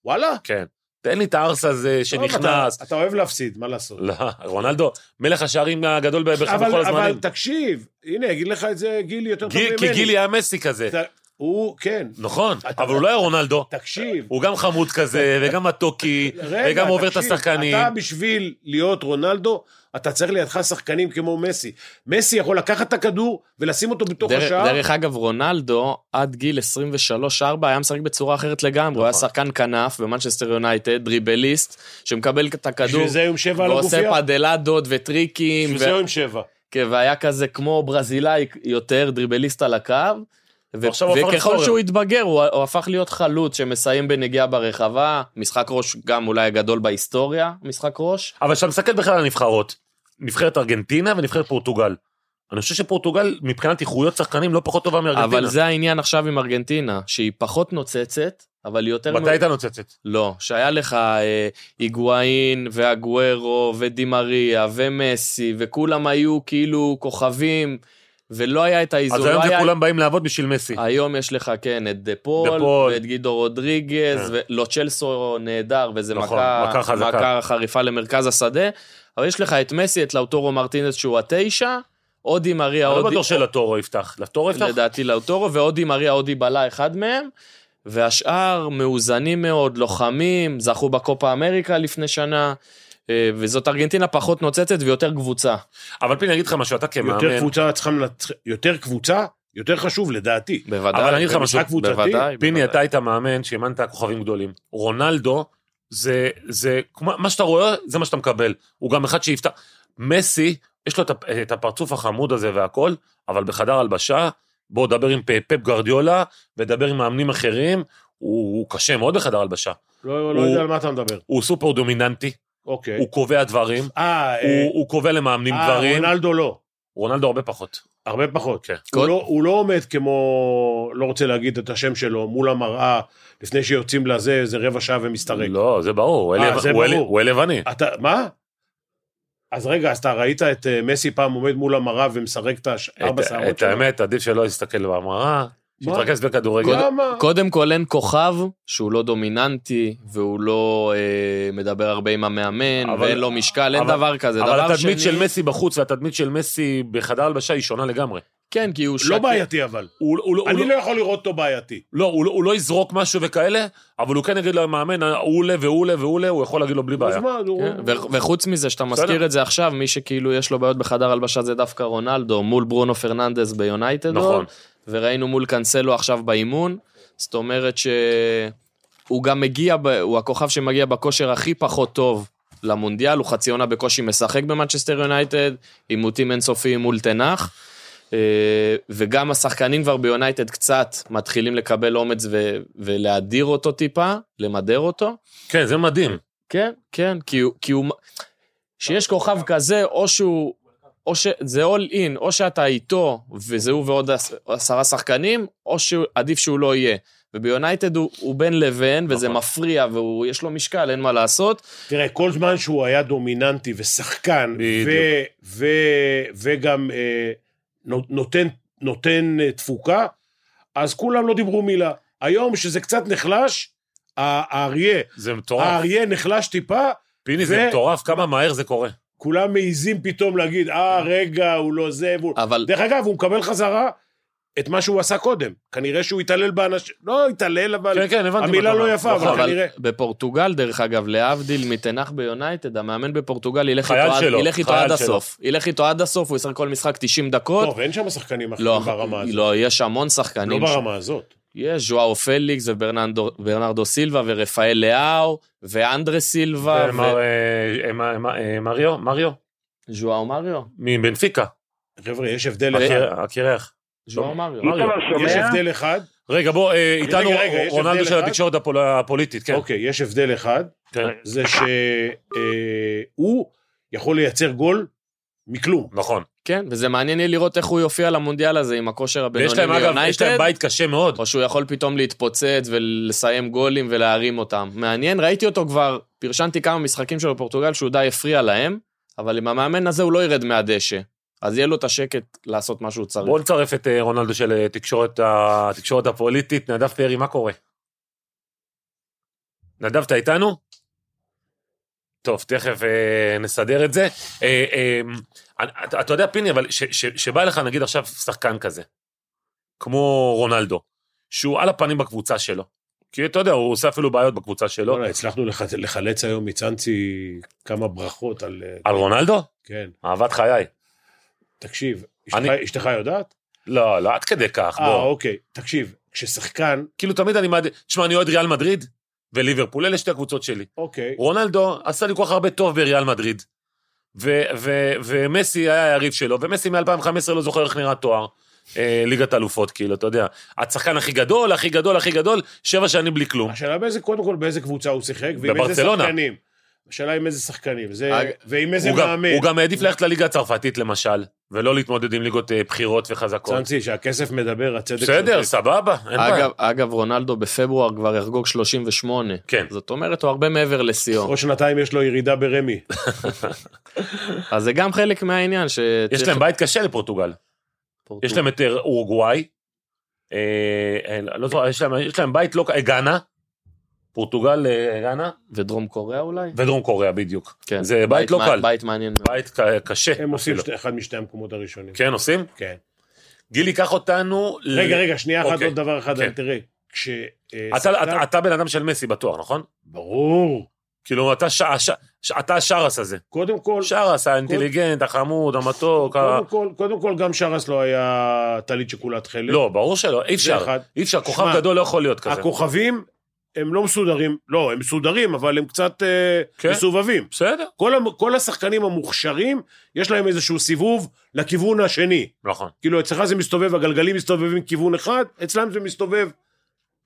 וואלה?
כן. תן לי את הארס הזה
טוב,
שנכנס.
לא, אתה- אתה אוהב להפסיד, מה לעשות?
לא, רונלדו, מלך השערים הגדול ב- בכל
אבל, אבל
הזמנים.
תקשיב, הנה, יגיד לך את זה גילי יותר טוב
גיל-
ממני.
כי גילי היה מסי כזה.
אתה- הוא, כן,
נכון,
אתה-
אבל הוא לא היה רונלדו.
תקשיב.
הוא גם חמוד כזה, וגם מתוקי,
רגע,
וגם עובר את
תקשיב,
השחקנים.
אתה בשביל להיות רונלדו, אתה צריך לידך שחקנים כמו מסי. מסי יכול לקחת את הכדור ולשים אותו בתוך
דרך,
השער.
דרך אגב, רונלדו עד גיל 23-4 היה משחק בצורה אחרת לגמרי, הוא היה
נכון.
שחקן כנף במנצ'סטר יונייטד, דריבליסט, שמקבל את הכדור,
בשביל זה הוא עם שבע על
ועושה
הגופייה.
פדלדות וטריקים,
בשביל
ו...
זה הוא עם שבע.
כן, והיה כזה כמו ברזילאי יותר, דריבליסט על הקו. ו-
ועכשיו הוא הפך
וככל
לפורר.
שהוא התבגר, הוא, הוא הפך להיות חלוץ שמסיים בנגיעה ברחבה, משחק ראש גם אולי הגדול בהיסטוריה, משחק ראש.
אבל כשאתה מסתכל בכלל על הנבחרות, נבחרת ארגנטינה ונבחרת פורטוגל. אני חושב שפורטוגל מבחינת איכויות שחקנים לא פחות טובה מארגנטינה.
אבל זה העניין עכשיו עם ארגנטינה, שהיא פחות נוצצת, אבל היא יותר...
מתי הייתה נוצצת?
לא, שהיה לך אה, היגואין ואגוארו ודימריה ומסי, וכולם היו כאילו כוכבים, ולא היה את האיזון.
אז
לא
היום זה
היה... אה,
כולם באים לעבוד בשביל מסי.
היום יש לך, כן, את דה פול,
דה פול.
ואת גידו רודריגז,
כן.
ולו צ'לסו נהדר, וזה
נכון,
מכה,
מכה חזקה.
מכה חריפה למרכז השדה, אבל יש לך את מסי, את לאוטורו מרטינס שהוא התשע, אודי מריה,
אני לא
אודי,
בטוח שלטורו יפתח. לטורו יפתח?
לדעתי לאוטורו, ואודי מריה, אודי בלה אחד מהם, והשאר מאוזנים מאוד, לוחמים, זכו בקופה אמריקה לפני שנה, אה, וזאת ארגנטינה פחות נוצצת ויותר קבוצה.
אבל פיני, אני אגיד לך משהו, אתה כמאמן.
יותר קבוצה צריכה לנצח, יותר קבוצה, יותר חשוב לדעתי.
בוודאי.
אבל אני אגיד לך
במשחק
משהו,
קבוצתי,
בוודאי.
פיני, אתה היית מאמן שאימנת כוכבים גדולים. רונלדו, זה, זה, כמו- מה שאתה רואה, זה מה שאתה מקבל. הוא גם אחד שיפתח. מסי, יש לו את הפ- את הפרצוף החמוד הזה והכל, אבל בחדר הלבשה, בוא, דבר עם פ- פפ גרדיולה, ודבר עם מאמנים אחרים, הוא, הוא קשה מאוד בחדר הלבשה.
לא לא יודע על מה אתה מדבר.
הוא סופר דומיננטי,
אוקיי.
הוא קובע דברים,
אה, אה,
הוא, הוא קובע למאמנים
אה,
דברים.
רונלדו לא.
רונלדו הרבה פחות.
הרבה פחות.
כן.
הוא לא- הוא לא עומד כמו, לא רוצה להגיד את השם שלו, מול המראה, לפני שיוצאים לזה איזה רבע שעה ומסתרק.
לא, זה ברור, הוא
אה,
אל-
זה
הוא אל-
ברור.
הוא אל לבני.
אתה, מה? אז רגע, אז אתה ראית את אה, מסי פעם עומד מול המראה ומסרק את הארבע
את-
שערות
את האמת, עדיף שלא יסתכל במראה,
מה?
שיתרכז בכדורגל.
למה?
קודם כל אין כוכב שהוא לא דומיננטי, והוא לא אה, מדבר הרבה עם המאמן,
אבל-
ואין לו משקל, אין
אבל-
דבר כזה.
אבל
דבר
התדמית
שני-
של מסי בחוץ והתדמית של מסי בחדר הלבשה היא שונה לגמרי.
כן, כי הוא
לא
שקט.
בעייתי אבל.
הוא- הוא- הוא-
אני
הוא-
לא יכול לראות אותו בעייתי.
לא, הוא לא- הוא לא יזרוק משהו וכאלה, אבל הוא כן יגיד למאמן, הוא עולה והוא עולה והוא עולה, הוא יכול להגיד לו בלי
אז
בעיה.
מה, נו,
כן, ו- וחוץ מזה, שאתה מזכיר
כאילו, בסדר.
את זה עכשיו, מי שכאילו יש לו בעיות בחדר הלבשה זה דווקא רונלדו, מול ברונו פרננדס ביונייטד. לא?
נכון.
וראינו מול קאנסלו עכשיו באימון, זאת אומרת שהוא גם מגיע, ב- הוא הכוכב שמגיע בכושר הכי פחות טוב למונדיאל, הוא חצי עונה בקושי משחק במנצ'סטר יונייטד, עימותים אינסופיים מול תנח, אה, וגם השחקנים כבר ביונייטד קצת מתחילים לקבל אומץ ו- ולהדיר אותו טיפה, למדר אותו.
כן, זה מדהים.
כן, כן, כי הוא... כי הוא... שיש כוכב כזה, או שהוא... או ש... זה all in, או שאתה איתו, וזה הוא ועוד עש- עשרה שחקנים, או שעדיף שהוא לא יהיה. וביונייטד הוא, הוא בין לבין, וזה
נכון.
מפריע, ויש לו משקל, אין מה לעשות.
תראה, כל זמן שהוא היה דומיננטי ושחקן,
בדיוק.
ו- ו- וגם אה, נו- נותן, נותן אה, תפוקה, אז כולם לא דיברו מילה. היום, שזה קצת נחלש, ה- האריה,
זה מטורף.
האריה נחלש טיפה,
אה, פיני, זה
ו-
מטורף כמה מהר זה קורה.
כולם מעיזים פתאום להגיד, אה, רגע, הוא לא זה, והוא...
אבל
דרך אגב, הוא מקבל חזרה את מה שהוא עשה קודם. כנראה שהוא התעלל באנשים, לא התעלל, אבל...
כן, כן, הבנתי. מה
המילה
אתה
לא
אומר.
יפה, אבל
נכון.
אבל
כנראה.
בפורטוגל, דרך אגב, להבדיל מתנח ביונייטד, המאמן בפורטוגל ילך
חייל
איתו, עד-
שלו,
ילך איתו
חייל
עד
שלו.
הסוף. ילך איתו עד הסוף, הוא ישחק כל משחק 90 דקות.
טוב, אין שם שחקנים אחרים
לא,
ברמה הזאת.
לא, יש המון שחקנים.
לא
ש-
ברמה הזאת.
יש ז'ואאו פליקס וברנרדו סילבה ורפאל לאהו ואנדרה סילבה
זה אה, מר- אה, אה, מר- אה, מריו, מריו,
וז'ואאו מריו.
מבנפיקה,
אה,
חבר'ה, יש הבדל אחד.
הקיר- הקירח.
ז'ואאו מריו.
מריו.
יש הבדל אחד,
רגע, בוא, אה, איתנו
רגע, רגע, יש
רונלדו
הבדל
של
אחד?
התקשורת הפול- הפוליטית, כן.
אוקיי, יש הבדל אחד,
כן.
זה שהוא יכול לייצר גול מכלום.
נכון.
כן, וזה מעניין יהיה לראות איך הוא יופיע למונדיאל הזה עם הכושר
ויש
הבינוני
להם, אגב, יש להם
מיונייטד,
בית קשה מאוד.
או שהוא יכול פתאום להתפוצץ ולסיים גולים ולהרים אותם. מעניין, ראיתי אותו כבר, פרשנתי כמה משחקים שלו בפורטוגל שהוא די הפריע להם, אבל עם המאמן הזה הוא לא ירד מהדשא. אז יהיה לו את השקט לעשות מה שהוא צריך.
בואו נצרף את אה, רונלדו של אה, תקשורת ה- התקשורת הפוליטית. נדב פרי, מה קורה? נדב, אתה איתנו? טוב, תכף אה, נסדר את זה. אה, אה, אה, אתה אתה יודע, פיני, אבל ש- ש- שבא לך, נגיד עכשיו, שחקן כזה, כמו רונלדו, שהוא על הפנים בקבוצה שלו, כי אתה יודע, הוא עושה אפילו בעיות בקבוצה שלו.
לא, הצלחנו לח- לחלץ היום מצאנצי כמה ברכות על... אה,
על רונלדו?
כן,
אהבת חיי.
תקשיב, אשתך-
אני-
אשתך יודעת?
לא, לא עד כדי כך,
אה,
בוא.
אוקיי, תקשיב, כששחקן,
כאילו, תמיד אני מעדיף... תשמע, אני אוהד ריאל מדריד וליברפול, אלה שתי הקבוצות שלי.
אוקיי,
רונלדו עשה לי כל כך הרבה טוב בריאל מדריד. ו- ו- ומסי היה היריב שלו, ומסי מ-2015 לא זוכר איך נראה תואר. אה, ליגת אלופות, כאילו, אתה יודע. השחקן הכי גדול, הכי גדול, הכי גדול, שבע שנים בלי כלום.
אה, השאלה באיזה, קודם כל באיזה קבוצה הוא שיחק, ועם איזה
בברצלונה.
שחקנים. השאלה עם איזה שחקנים, זה,
אג-
ועם איזה
הוא גם-
מאמן.
הוא גם העדיף ללכת לליגה הצרפתית, למשל, ולא להתמודד עם ליגות אה, בכירות וחזקות.
צאנצי, שהכסף מדבר, הצדק
בסדר,
צודק.
סבבה, אין בעיה.
אגב, אגב, רונלדו בפברואר כבר יחגוג 38.
כן.
זאת אומרת, הוא הרבה מעבר לשיאו.
או שנתיים יש לו ירידה ברמי.
אז זה גם חלק מהעניין שצריך...
יש להם בית קשה לפורטוגל. יש להם את אה, אורוגוואי, אה, אה, לא זוכר, יש להם- יש להם בית לא... אה, גאנה, פורטוגל, אה, גאנה,
ודרום קוריאה אולי?
ודרום קוריאה בדיוק.
כן.
זה בית לא
מע-
קל.
בית מעניין מאוד.
בית ק- קשה.
הם עושים
אפילו.
שתי- אחד משתי המקומות הראשונים.
כן, עושים?
כן.
גילי, קח אותנו... ל-
רגע, רגע, שנייה אחת,
אוקיי.
עוד דבר אחד,
כן.
אבל תראה, כש... אה,
אתה-
סלטן-
אתה- אתה בן אדם של מסי בטוח, נכון?
ברור.
כאילו, אתה ש- ש- ש- אתה השרס הזה.
קודם כל,
שרס, האינטליגנט, החמוד, המתוק, ה...
קודם כל, קודם כל, גם שרס לא היה טלית שכולת חלק.
לא, ברור שלא, אי אפשר.
זה אחד.
אי אפשר, כוכב
שמע,
גדול לא יכול להיות כזה.
הכוכבים, הם לא מסודרים, לא, הם מסודרים, אבל הם קצת אה,
כן.
מסובבים.
בסדר.
כל, המ, כל השחקנים המוכשרים, יש להם איזשהו סיבוב לכיוון השני.
נכון.
כאילו, אצלך זה מסתובב, הגלגלים מסתובבים כיוון אחד, אצלם זה מסתובב.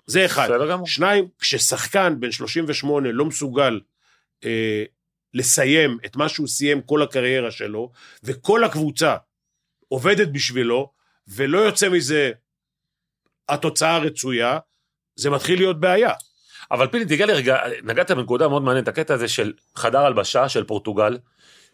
זה אחד.
בסדר גמור.
שניים, כששחקן בן 38 לא מסוגל אה, לסיים את מה שהוא סיים כל הקריירה שלו, וכל הקבוצה עובדת בשבילו, ולא יוצא מזה התוצאה הרצויה, זה מתחיל להיות בעיה.
אבל פיני, תיגע לי רגע, נגעת בנקודה מאוד מעניינת, הקטע הזה של חדר הלבשה של פורטוגל,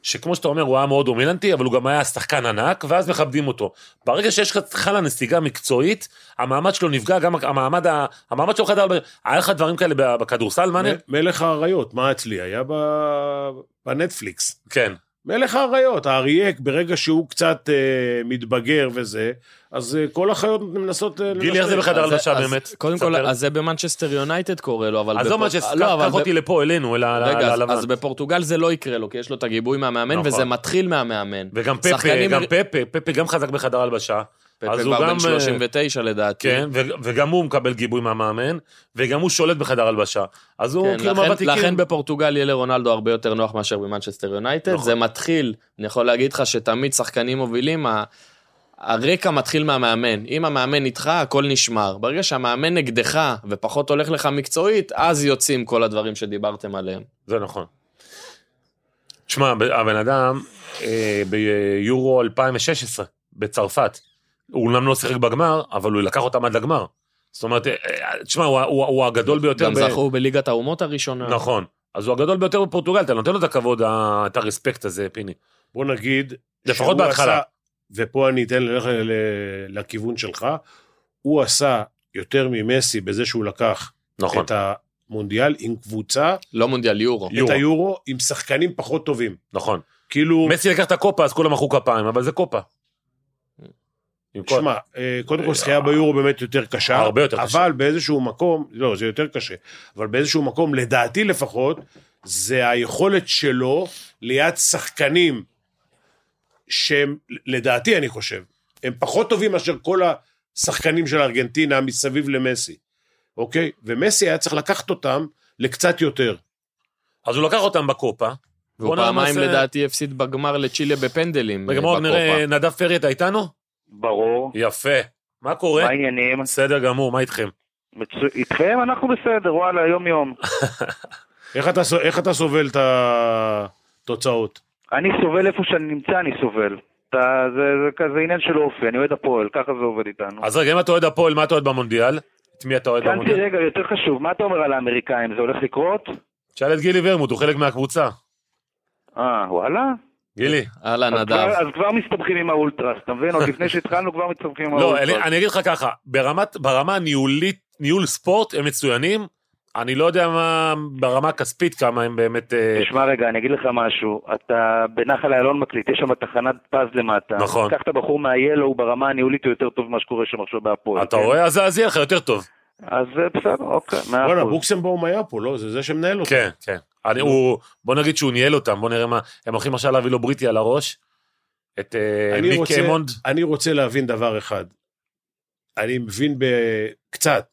שכמו שאתה אומר, הוא היה מאוד דומיננטי, אבל הוא גם היה שחקן ענק, ואז מכבדים אותו. ברגע שיש לך חלה נסיגה מקצועית, המעמד שלו נפגע, גם המעמד, ה- המעמד שלו בחדר הלבשה, היה לך דברים כאלה בכדורסל, מאנר?
מ- מלך האריות, מה אצלי? היה ב- בנטפליקס.
כן.
מלך האריות, האריה, ברגע שהוא קצת אה, מתבגר וזה, אז אה, כל החיות מנסות... אה,
גילי, איך זה
לנשק.
בחדר
אז-
הלבשה
אז-
באמת?
קודם כל,
ספר.
אז זה במנצ'סטר יונייטד קורה לו, אבל...
עזוב
בפור-
מה שס-
לא, אבל
קח אותי לפה אלינו, אל ה-
רגע, אז-
ללבן.
אז בפורטוגל זה לא יקרה לו, כי יש לו את הגיבוי מהמאמן,
נכון.
וזה מתחיל מהמאמן.
וגם פפה,
שחקנים-
גם פפה, פפה גם חזק בחדר הלבשה.
פפה
אז הוא
כבר
גם, אה,
בן 39 לדעתי.
כן, ו- וגם הוא מקבל גיבוי מהמאמן, וגם הוא שולט בחדר הלבשה. אז הוא
כן,
כאילו
לכן-
מהוותיקים.
לכן בפורטוגל יהיה לרונלדו הרבה יותר נוח מאשר במנצ'סטר יונייטד.
נכון.
זה מתחיל, אני יכול להגיד לך שתמיד שחקנים מובילים, ה- הרקע מתחיל מהמאמן. אם המאמן איתך, הכל נשמר. ברגע שהמאמן נגדך ופחות הולך לך מקצועית, אז יוצאים כל הדברים שדיברתם עליהם.
זה נכון. תשמע, ב- הבן אדם אה, ביורו 2016, בצרפת, הוא אומנם לא שיחק בגמר, אבל הוא לקח אותם עד לגמר. זאת אומרת, אה, אה, תשמע, הוא, ה- הוא, ה- הוא הגדול ביותר.
גם
ב-
זכו בליגת האומות הראשונה.
נכון. אז הוא הגדול ביותר בפורטוגל, אתה נותן לו את הכבוד, ה- את הרספקט הזה, פיני.
בוא נגיד...
לפחות
שהוא
בהתחלה.
עשה- ופה אני אתן ללכת ל- לכיוון שלך, הוא עשה יותר ממסי בזה שהוא לקח
נכון.
את המונדיאל עם קבוצה,
לא מונדיאל יורו.
יורו.
את היורו, עם שחקנים פחות טובים.
נכון.
כאילו,
מסי לקח את הקופה, אז כולם מחאו כפיים, אבל זה קופה. עם כל-
שמע, אה, קודם כל שחייה ביורו באמת יותר קשה.
הרבה יותר קשה.
אבל באיזשהו מקום, לא, זה יותר קשה, אבל באיזשהו מקום, לדעתי לפחות, זה היכולת שלו ליד שחקנים שהם, לדעתי אני חושב, הם פחות טובים מאשר כל השחקנים של ארגנטינה מסביב למסי, אוקיי? ומסי היה צריך לקחת אותם לקצת יותר.
אז הוא לקח אותם בקופה.
והוא
בוא
פעמיים
נעשה-
לדעתי הפסיד בגמר לצ'יליה בפנדלים. אה,
רגע, בואו
בקופה.
נראה, נדב פרי, אתה איתנו?
ברור.
יפה. מה קורה?
מה העניינים?
בסדר גמור, מה איתכם?
מצו- איתכם אנחנו בסדר, וואלה, יום-יום.
איך אתה, סו- איך אתה סובל את התוצאות?
אני סובל איפה שאני נמצא, אני סובל. אתה, זה, זה כזה עניין של אופי, אני אוהד הפועל, ככה זה עובד איתנו.
אז רגע, אם אתה אוהד הפועל, מה אתה אוהד במונדיאל? את מי אתה אוהד
צאנצי,
במונדיאל?
רגע, יותר חשוב, מה אתה אומר על האמריקאים? זה הולך לקרות?
תשאל את גילי ורמוט, הוא חלק מהקבוצה.
אה, וואלה?
גילי.
כן,
אהלן,
אז
נדב.
כבר, אז כבר מסתבכים עם האולטרס, אתה מבין? עוד לפני שהתחלנו כבר מסתבכים עם
לא, אני
האולטרס.
אני אגיד לך ככה, ברמת- ברמה הניהולית, ניהול ספורט, הם מצוינים. אני לא יודע מה, ברמה הכספית כמה הם באמת... אה,
תשמע רגע, אני אגיד לך משהו. אתה בנחל איילון מקליט, יש שם תחנת פז למטה.
נכון.
קח את הבחור מהיילו, ברמה הניהולית הוא יותר טוב ממה שקורה שם עכשיו בהפועל.
אתה
כן?
רואה? אז אז יהיה לך יותר טוב.
אז אה, בסדר, אוקיי, מאה
בואנה,
אחוז.
בוקסמבום היה פה, לא? זה זה שמנהל אותו.
כן, כן. אני, הוא, בוא נגיד שהוא ניהל אותם, בוא נראה מה, הם הולכים עכשיו להביא לו בריטי על הראש, את אה,
אני
מיק
רוצה-
קיימונד.
אני רוצה להבין דבר אחד. אני מבין ב- קצת,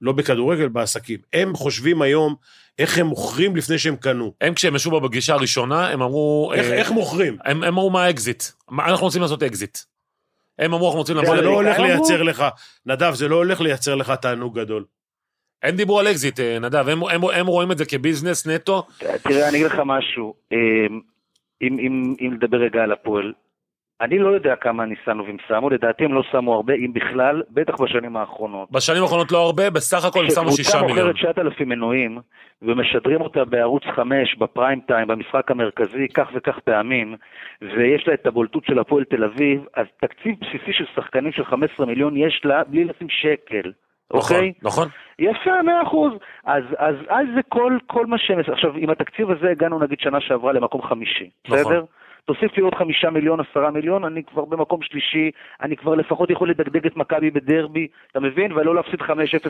לא בכדורגל, בעסקים. הם חושבים היום איך הם מוכרים לפני שהם קנו.
הם כשהם ישבו בה בפגישה הראשונה, הם אמרו...
איך,
אה,
איך מוכרים?
הם, הם אמרו מה האקזיט, מה, אנחנו רוצים לעשות אקזיט. הם אמרו אנחנו רוצים לבוא,
זה לא
אמריקאים
הולך
אמרו?
לייצר לך, נדב, זה לא הולך לייצר לך תענוג גדול.
אין דיבור על אקזיט, אה, נדב, הם, הם, הם רואים את זה כביזנס נטו,
תראה, אני אגיד לך משהו. אמ, אם, אם, אם לדבר רגע על הפועל, אני לא יודע כמה ניסנובים שמו, לדעתי הם לא שמו הרבה, אם בכלל, בטח בשנים האחרונות.
בשנים האחרונות לא הרבה, בסך הכל
כן,
הם שמו שישה
כשקבוצה
מיליון.
מוכרת 9,000 מנויים ומשדרים אותה בערוץ 5 בפריים טיים, במשחק המרכזי, כך וכך פעמים, ויש לה את הבולטות של הפועל תל אביב, אז תקציב בסיסי של שחקנים של 15 מיליון יש לה בלי לשים שקל,
נכון,
אוקיי?
נכון.
יפה, מאה אחוז. אז, אז, אז זה כל, כל מה שהם... עכשיו, עם התקציב הזה הגענו נגיד שנה שעברה למקום חמישי,
נכון.
בסדר? תוסיף לי עוד חמישה מיליון, עשרה מיליון, אני כבר במקום שלישי, אני כבר לפחות יכול לדגדג את מכבי בדרבי, אתה מבין? ולא להפסיד 5-0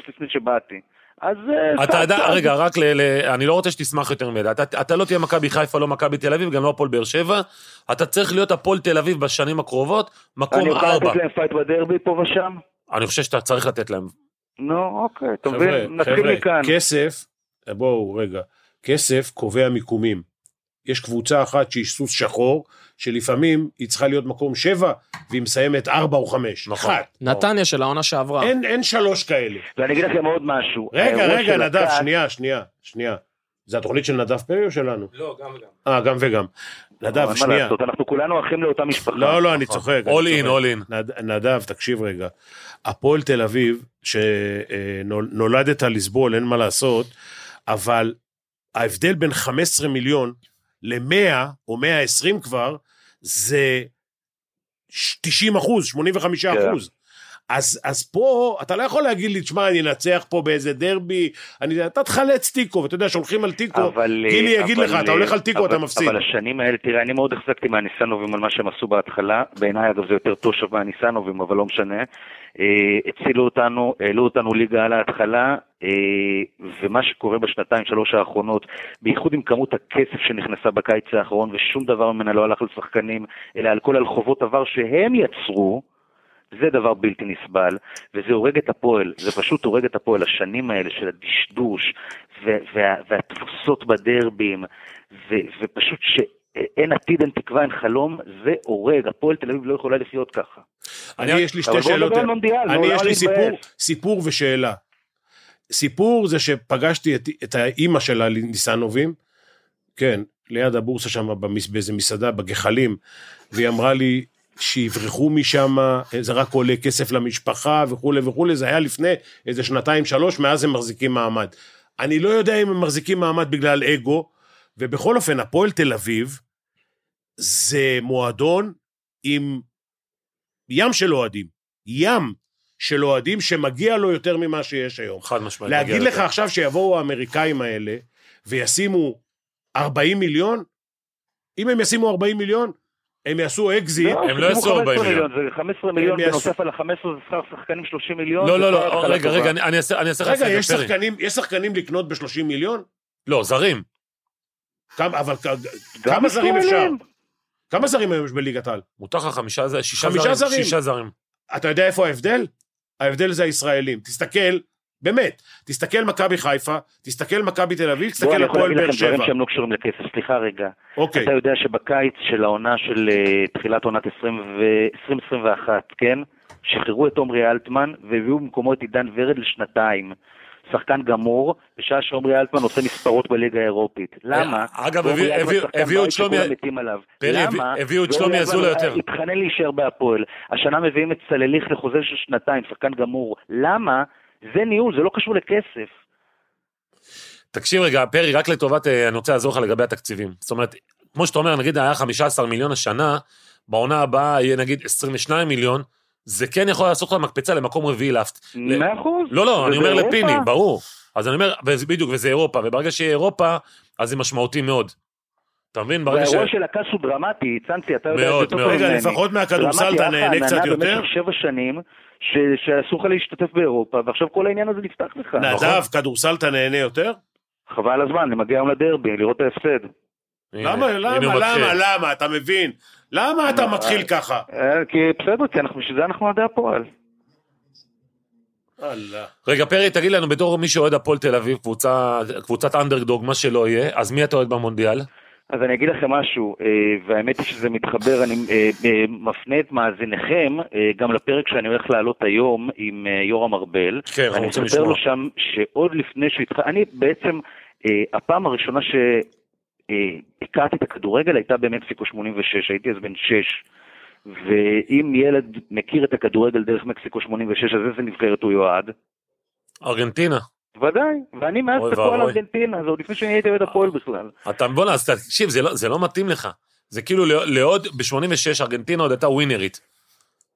לפני שבאתי. אז... אה,
אתה
סע,
יודע,
סע.
רגע, רק ל... ל- אני לא רוצה שתשמח יותר מדי. אתה, אתה לא תהיה מכבי חיפה, לא מכבי תל אביב, גם לא הפועל באר שבע. אתה צריך להיות הפועל תל אביב בשנים הקרובות,
אני
מקום
יכול
ארבע.
לתת להם פייט בדרבי פה ושם?
אני חושב שאתה צריך לתת להם.
נו, אוקיי, אתה
חבר'ה,
מבין? נתחיל
חבר'ה, כן.
מכאן.
כסף, אה, בואו רגע, כסף קובע מיקומים. יש קבוצה אחת שהיא סוס שחור, שלפעמים היא צריכה להיות מקום שבע, והיא מסיימת ארבע או חמש.
נכון.
אחת.
נתניה של העונה שעברה.
אין, אין שלוש כאלה.
ואני אגיד לכם עוד משהו. אה,
רגע,
האירוע
רגע,
של
נדב,
הקאט-
שנייה, שנייה, שנייה. זה התוכנית של נדב פרי או שלנו?
לא, גם וגם.
אה, גם וגם. נדב,
אבל אה, מה
שנייה.
לעשות, נכון. אנחנו כולנו אחים לאותה משפחה.
לא, לא, אני צוחק. אני
All in,
צוחק.
all in.
כן, נד- נדב, תקשיב רגע. הפועל תל אביב, שנולדת לסבול, אין מה לעשות, אבל ההבדל בין 15 מיליון ל-100 או 120 כבר, זה 90 אחוז, 85 אחוז. אז, אז פה, אתה לא יכול להגיד לי, תשמע, אני אנצח פה באיזה דרבי, אני, אתה תחלץ תיקו, ואתה יודע, שהולכים על תיקו,
אבל... אה,
גילי
אבל-
יגיד לך, אתה הולך על תיקו,
אבל-
אתה מפסיד.
אבל השנים האלה, תראה, אני מאוד החזקתי מהניסנובים על מה שהם עשו בהתחלה. בעיניי, אגב, זה יותר תושב מהניסנובים, אבל לא משנה. אה, הצילו אותנו, העלו אותנו ליגה על ההתחלה, אה, ומה שקורה בשנתיים, שלוש האחרונות, בייחוד עם כמות הכסף שנכנסה בקיץ האחרון, ושום דבר ממנה לא הלך לשחקנים, אלא על כל הלחובות עבר שהם יצרו, זה דבר בלתי נסבל, וזה הורג את הפועל, זה פשוט הורג את הפועל, השנים האלה של הדשדוש, ו- וה- והתבוסות בדרבים, ו- ופשוט שאין עתיד, אין תקווה, אין חלום, זה הורג, הפועל תל אביב לא יכולה לחיות ככה.
אני, יש לי
אבל
שתי
בואו
שאלות.
נדבר על מונדיאל, לא נו,
אני,
למה
יש לי סיפור,
להתבאס?
סיפור ושאלה. סיפור זה שפגשתי את, את האימא של הניסנובים, כן, ליד הבורסה שם, במס- באיזה מסעדה, בגחלים, והיא אמרה לי שיברחו משם, זה רק עולה כסף למשפחה וכולי וכולי, זה היה לפני איזה שנתיים-שלוש, מאז הם מחזיקים מעמד. אני לא יודע אם הם מחזיקים מעמד בגלל אגו, ובכל אופן, הפועל תל אביב זה מועדון עם ים של אוהדים, ים של אוהדים שמגיע לו יותר ממה שיש היום.
חד משמעית.
להגיד
מגיע
לך
לזה.
עכשיו שיבואו האמריקאים האלה וישימו 40 מיליון, אם הם ישימו 40 מיליון, הם יעשו אקזיט.
הם לא יעשו 40 מיליון.
זה 15 מיליון,
יעשו-
בנוסף על ה-15 זה שכר שחקנים 30 מיליון.
לא,
זה
לא,
כבר
לא,
התחלה
רגע,
טובה.
רגע, אני- אני אעשה אני אעשה לך
רגע,
סדר,
יש
פרי.
שחקנים, יש שחקנים לקנות ב-30 מיליון?
לא, זרים.
כמה, אבל כ-
גם
כמה זרים אפשר?
ישראלים.
כמה זרים היום יש בליגת העל?
מותר לך חמישה זרים, שישה
חמישה זרים.
זרים. שישה זרים.
אתה יודע איפה ההבדל? ההבדל זה הישראלים. תסתכל, באמת, תסתכל מכבי חיפה, תסתכל מכבי תל אביב,
בואו, אני
תסתכל
יכול
הפועל
להגיד
באר
לכם דברים
שבע.
שהם לא קשורים לכסף, סליחה רגע.
אוקיי.
אתה יודע שבקיץ של העונה של אה, תחילת עונת 20 ו- 2021, כן? שחררו את עומרי אלטמן והביאו במקומו את עידן ורד לשנתיים. שחקן גמור, בשעה שעומרי אלטמן עושה מספרות בליגה האירופית. למה?
אה, אגב,
ועומרי
הביאו-
אלטמן
הביאו-
שחקן
הביאו את
בית
שלומי-
שכולם מתים עליו.
פרי,
למה?
הביא- הביאו את
ועומרי
שלומי
אלטמן
אזולאי יותר.
התחנן להישאר בהפועל. השנה מביאים את סלליך לחוזה של שנתיים, שחקן גמור. למה? זה ניהול, זה לא קשור לכסף.
תקשיב רגע, פרי, רק לטובת, אה, אני רוצה לעזור לך לגבי התקציבים. זאת אומרת, כמו שאתה אומר, נגיד היה 15 מיליון השנה, בעונה הבאה יהיה נגיד 22 מיליון, זה כן יכול לעשות לך מקפצה למקום רביעי לאפט. ל-
מאה אחוז.
לא, לא, אני אומר
ובאירופה-
לפיני, ברור. אז אני אומר, וזה- בדיוק, וזה אירופה, וברגע שיהיה אירופה, אז זה משמעותי מאוד. אתה מבין? ברגע ש...
והאירוע של הקאס הוא דרמטי, צאנצי, אתה יודע
מאוד,
יותר
מאוד.
ממני.
רגע, לפחות מהכדורסל
דרמטי,
אתה
היה לך
נהנה
עננה
קצת יותר?
במשך שבע שנים, ש- שאסור לך להשתתף באירופה, ועכשיו כל העניין הזה נפתח לך.
נדב,
נכון.
כדורסל אתה נהנה יותר?
חבל על הזמן, אני מגיע היום לדרבי, לראות את ההפסד.
הנה,
למה,
הנה
למה,
הוא מתחיל.
למה, למה, אתה מבין? למה אתה מתחיל ככה?
אה, כי בסדר, כי אנחנו- בשביל זה אנחנו עדי הפועל.
אללה.
רגע, פרי, תגיד לנו, בתור מי שאוהד הפועל תל אביב, קבוצה- קבוצת אנדרדוג, מה שלא יהיה, אז מי אתה אוהד במונדיאל?
אז אני אגיד לכם משהו, אה, והאמת היא שזה מתחבר, אני אה, אה, מפנה את מאזיניכם אה, גם לפרק שאני הולך לעלות היום עם אה, יורם ארבל.
כן, אנחנו רוצים
אני מספר
לשמוע.
לו שם שעוד לפני שהוא התחיל, אני בעצם, אה, הפעם הראשונה ש... אה, הכרתי את הכדורגל הייתה במקסיקו 86, הייתי אז בן 6. ואם ילד מכיר את הכדורגל דרך מקסיקו 86, אז איזה נבחרת הוא יועד?
ארגנטינה.
ודאי, ואני מאז
אוי
תקוע על
ואבוי.
ארגנטינה, זה עוד לפני שאני הייתי אוהד הפועל בכלל.
אתה, בוא'נה, אז תקשיב, זה לא- זה לא מתאים לך. זה כאילו לא- לעוד, ב-86 ארגנטינה עוד הייתה ווינרית.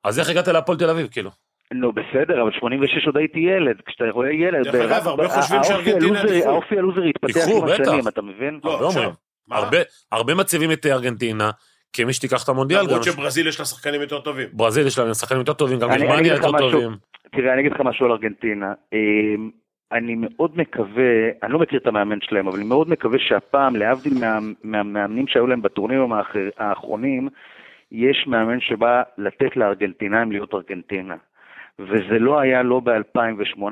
אז איך הגעת להפועל תל אביב, כאילו?
נו בסדר, אבל 86 עוד הייתי ילד, כשאתה רואה ילד...
דרך אגב, הרבה חושבים
האופי
שארגנטינה
הלוזרי-
ניצחו.
האופי הלוזרי התפתח
ניצחו,
עם
בטח.
השנים, אתה מבין?
לא,
הרבה
עכשיו,
אומרים.
מה?
הרבה- הרבה מציבים את ארגנטינה כמי שתיקח את המונדיאל.
למרות
גם.
שברזיל יש לה שחקנים יותר טובים.
ברזיל יש להם שחקנים יותר טובים, גם
אני- אני
גרמניה
אגיד לך
יותר
משהו.
טובים.
תראה, אני אגיד לך משהו על ארגנטינה. אמ, אני מאוד מקווה, אני לא מכיר את המאמן שלהם, אבל אני מאוד מקווה שהפעם, להבדיל מה, מהמאמנים שהיו להם בטורנירים האחר- האחרונים, יש מאמן שבא לתת לארגנטינאים להיות ארגנטינה. וזה לא היה לא ב-2018,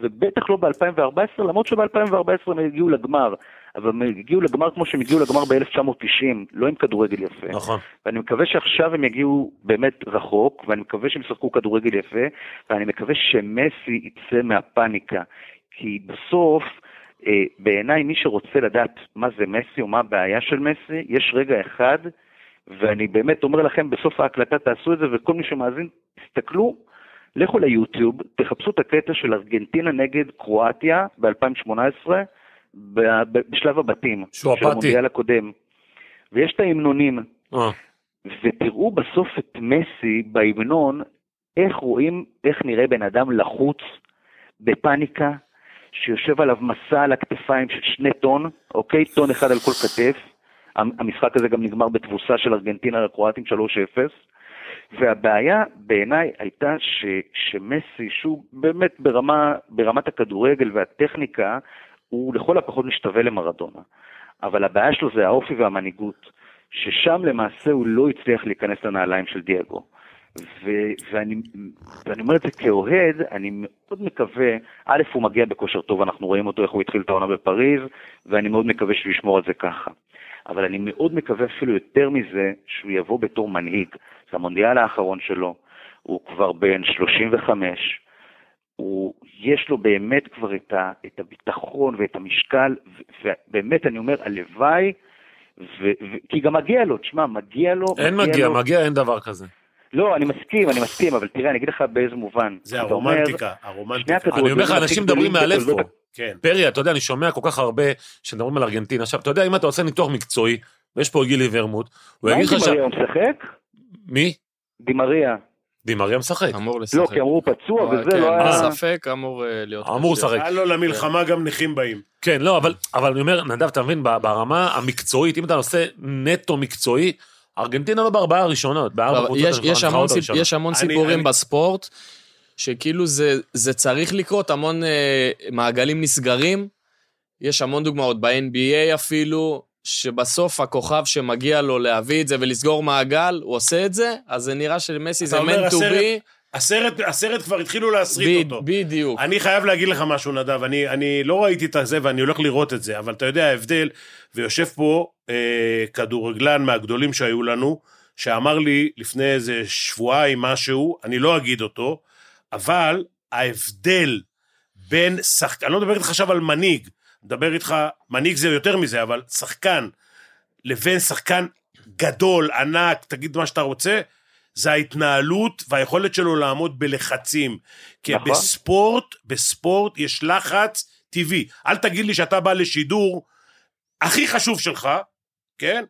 ובטח לא ב-2014, למרות שב-2014 הם הגיעו לגמר. אבל הם הגיעו לגמר כמו שהם הגיעו לגמר ב-1990, לא עם כדורגל יפה.
נכון.
ואני מקווה שעכשיו הם יגיעו באמת רחוק, ואני מקווה שהם ישחקו כדורגל יפה, ואני מקווה שמסי יצא מהפאניקה. כי בסוף, אה, בעיניי, מי שרוצה לדעת מה זה מסי או מה הבעיה של מסי, יש רגע אחד, ואני באמת אומר לכם, בסוף ההקלטה תעשו את זה, וכל מי שמאזין, תסתכלו, לכו ליוטיוב, תחפשו את הקטע של ארגנטינה נגד קרואטיה ב-2018, ב- ב- בשלב הבתים.
שהוא
של
אפאתי.
המונדיאל הקודם. ויש את ההמנונים.
אה.
ותראו בסוף את מסי בהמנון, איך רואים, איך נראה בן אדם לחוץ, בפאניקה, שיושב עליו מסע על הכתפיים של שני טון, אוקיי? טון אחד על כל כתף. המ- המשחק הזה גם נגמר בתבוסה של ארגנטינה לקרואטים 3-0. והבעיה בעיניי הייתה ש, שמסי, שהוא באמת ברמה, ברמת הכדורגל והטכניקה, הוא לכל הפחות משתווה למרדונה. אבל הבעיה שלו זה האופי והמנהיגות, ששם למעשה הוא לא הצליח להיכנס לנעליים של דייגו. ו- ואני, ואני אומר את זה כאוהד, אני מאוד מקווה, א', הוא מגיע בכושר טוב, אנחנו רואים אותו, איך הוא התחיל את העונה בפריז, ואני מאוד מקווה שהוא ישמור על זה ככה. אבל אני מאוד מקווה אפילו יותר מזה, שהוא יבוא בתור מנהיג. זה המונדיאל האחרון שלו, הוא כבר בן 35, הוא, יש לו באמת כבר את, ה, את הביטחון ואת המשקל, ו- ובאמת אני אומר, הלוואי, ו, ו, כי גם מגיע לו, תשמע, מגיע לו.
אין מגיע,
לו,
מגיע אין דבר כזה.
לא, אני מסכים, אני מסכים, אבל תראה, אני אגיד לך באיזה מובן.
זה
אתה אומר,
הרומנטיקה,
שני
הרומנטיקה.
הכדורגלנים
אני אומר לך,
הכי
אנשים
גדולים
מדברים מהלב
בתולדות
פה.
כן.
פרי, אתה יודע, אני שומע כל כך הרבה שמדברים על ארגנטינה. עכשיו, אתה יודע, אם אתה עושה ניתוח מקצועי, ויש פה את גילי ורמוט, הוא
מה עם
יגיד לך ש...
דימריה הוא משחק?
מי?
דימריה.
דימריה משחק. אה,
אמור לשחק.
לא, כי אמרו הוא פצוע
אוקיי.
וזה
כן,
לא
אה,
היה...
אין ספק, אמור אה, להיות...
אמור
כשיר.
לשחק.
הלו, למלחמה גם נכים באים.
כן, לא, אבל, אבל אני אומר, נדב, אתה מבין, ב- ברמה המקצועית, אם אתה עושה נטו מקצועי, ארגנטינה לא בארבעה הראשונות, בארבע
אבל
קבוצות.
לא, יש- יש המון סיפ-
הראשונות.
יש המון
אני-
סיפורים
אני-
בספורט, שכאילו זה- זה צריך לקרות, המון אה, מעגלים נסגרים, יש המון דוגמאות, ב-NBA אפילו, שבסוף הכוכב שמגיע לו להביא את זה ולסגור מעגל, הוא עושה את זה, אז זה נראה שלמסי זה
אתה אומר,
man to
הסרט-
be,
הסרט, הסרט כבר התחילו להסריט
ב-
אותו.
בדיוק.
אני חייב להגיד לך משהו, נדב, אני, אני לא ראיתי את זה ואני הולך לראות את זה, אבל אתה יודע ההבדל, ויושב פה אה, כדורגלן מהגדולים שהיו לנו, שאמר לי לפני איזה שבועיים משהו, אני לא אגיד אותו, אבל ההבדל בין שחקן, אני לא מדבר איתך עכשיו על מנהיג, מדבר איתך, מנהיג זה יותר מזה, אבל שחקן, לבין שחקן גדול, ענק, תגיד מה שאתה רוצה, זה ההתנהלות והיכולת שלו לעמוד בלחצים. כי
נכון.
נכון. בספורט, בספורט יש לחץ טבעי. אל תגיד לי שאתה בא לשידור הכי חשוב שלך, כן?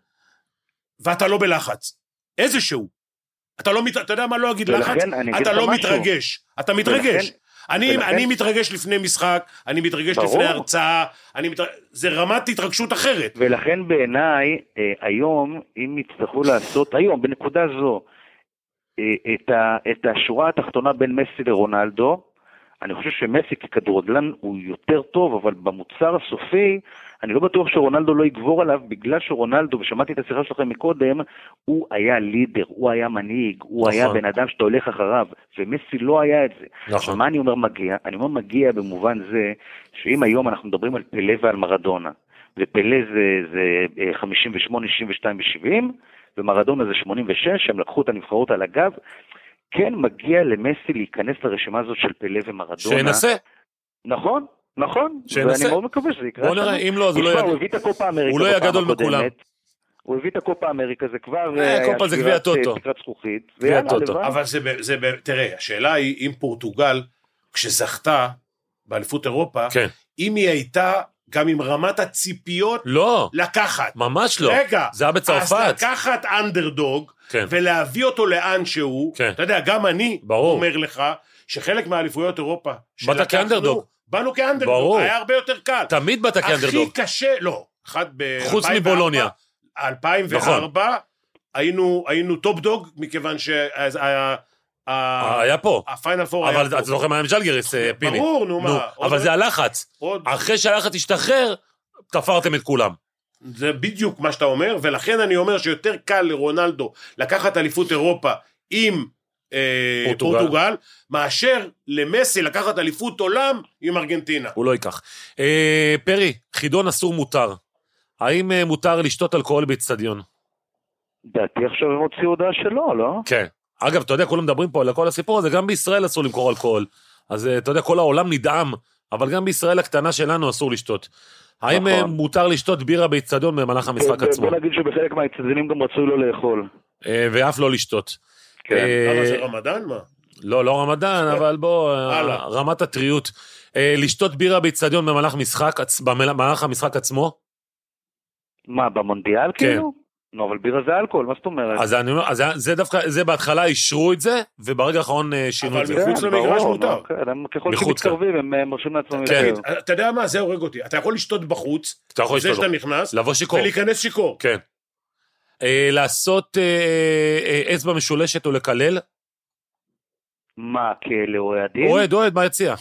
ואתה לא בלחץ. איזשהו. אתה לא, מת... אתה יודע מה לא אגיד
ולכן
לחץ?
אני אגיד
אתה
לך
לא
משהו.
מתרגש. אתה מתרגש.
ולכן-
אני,
ולכן-
אני מתרגש לפני משחק, אני מתרגש
ברור.
לפני הרצאה, אני מתרג... זה רמת התרגשות אחרת.
ולכן בעיניי, אה, היום, אם יצטרכו לעשות, היום, בנקודה זו, אה, את, ה, את השורה התחתונה בין מסי לרונלדו, אני חושב שמסי ככדורגלן הוא יותר טוב, אבל במוצר הסופי, אני לא בטוח שרונלדו לא יגבור עליו, בגלל שרונלדו, ושמעתי את השיחה שלכם מקודם, הוא היה לידר, הוא היה מנהיג, הוא היה
נכון.
בן אדם שאתה הולך אחריו, ומסי לא היה את זה. עכשיו,
נכון.
מה אני אומר מגיע? אני אומר מגיע במובן זה שאם היום אנחנו מדברים על פלא ועל מרדונה, ופלא זה, זה אה, 58, 62 ו-70, ומרדונה זה 86, הם לקחו את הנבחרות על הגב. כן מגיע למסי להיכנס לרשימה הזאת של פלא ומרדונה.
שינסה,
נכון, נכון.
שינסה.
ואני מאוד מקווה שזה יקרה.
בוא נראה,
השנה.
אם לא, אז הוא לא
תשמע,
יהיה...
הוא הביא את הקופה אמריקה
הוא לא יהיה
בפעם
גדול
הקודמת.
מכולם.
הוא הביא את הקופה אמריקה, זה כבר...
אה,
אה,
קופה
היה
זה
שברת,
גביע
אה,
טוטו.
תקרת זכוכית.
גביע
ויאללה,
טוטו.
הלוואי.
אבל זה, ב- זה, ב- תראה, השאלה היא אם פורטוגל, כשזכתה באליפות אירופה,
כן.
אם היא הייתה גם עם רמת הציפיות
לא,
לקחת.
ממש לא.
רגע,
זה היה
אז
בצרפת.
לקחת אנדרדוג,
כן.
ולהביא אותו לאן שהוא,
כן.
אתה יודע, גם אני
ברור.
אומר לך, שחלק מאליפויות אירופה,
באת כאנדרדוג.
באנו כאנדרדוג,
ברור.
היה הרבה יותר קל.
תמיד באת כאנדרדוג.
הכי קשה, לא, אחד ב...
כן, חוץ
2004,
מבולוניה. נכון.
2004, היינו, היינו טופ דוג, מכיוון
אה,
שהפיינל
היה פה.
פור היה...
אבל
פה.
אתה זוכר מה היה עם ז'לגריס, אה, פיני.
ברור, נו
נו,
מה. עוד-
אבל זה הלחץ.
עוד-
אחרי שהלחץ השתחרר, תפרתם את כולם.
זה בדיוק מה שאתה אומר, ולכן אני אומר שיותר קל לרונלדו לקחת אליפות אירופה עם אה,
פורטוגל.
פורטוגל, מאשר למסי לקחת אליפות עולם עם ארגנטינה.
הוא לא ייקח. אה, פרי, חידון אסור מותר. האם אה, מותר לשתות אלכוהול באיצטדיון?
דעתי עכשיו הם הוציאו הודעה שלא, לא?
כן. אגב, אתה יודע, כולם מדברים פה על כל הסיפור הזה, גם בישראל אסור למכור אלכוהול. אז אה, אתה יודע, כל העולם נדהם, אבל גם בישראל הקטנה שלנו אסור לשתות. האם אה,
נכון.
מותר לשתות בירה באיצטדיון במהלך המשחק
כן,
ב- ב-
עצמו?
בוא נגיד שבחלק מהצדדים גם רצוי לא לאכול.
אה, ואף לא לשתות.
כן.
אה,
למה זה רמדאן? מה?
לא, לא רמדאן, אבל בוא, אה,
הלאה.
רמת הטריות. אה, לשתות בירה באיצטדיון במהלך משחק, עצ- במהלך המשחק עצמו,
מה, במונדיאל כאילו? נו, אבל בירה זה אלכוהול, מה זאת אומרת?
אז אני אומר, אז זה- זה דווקא, זה בהתחלה אישרו את זה, וברגע האחרון אה, שינו
אבל
את זה.
מחוץ
כן,
למגרש
ברור,
מותר.
נו, כן, הם ככל
מחוץ,
שמתקרבים הם אה, מרשים לעצמם
כן.
יותר.
אתה יודע מה? זה הורג אותי. אתה יכול לשתות בחוץ,
אתה יכול
זה
לשתות.
שאתה נכנס,
לבוא שיכור.
ולהיכנס שיכור.
כן. אה, לעשות אה, אה, אצבע משולשת או לקלל?
מה, כאלה אוהדים?
אוהד, אוהד, מה יציע?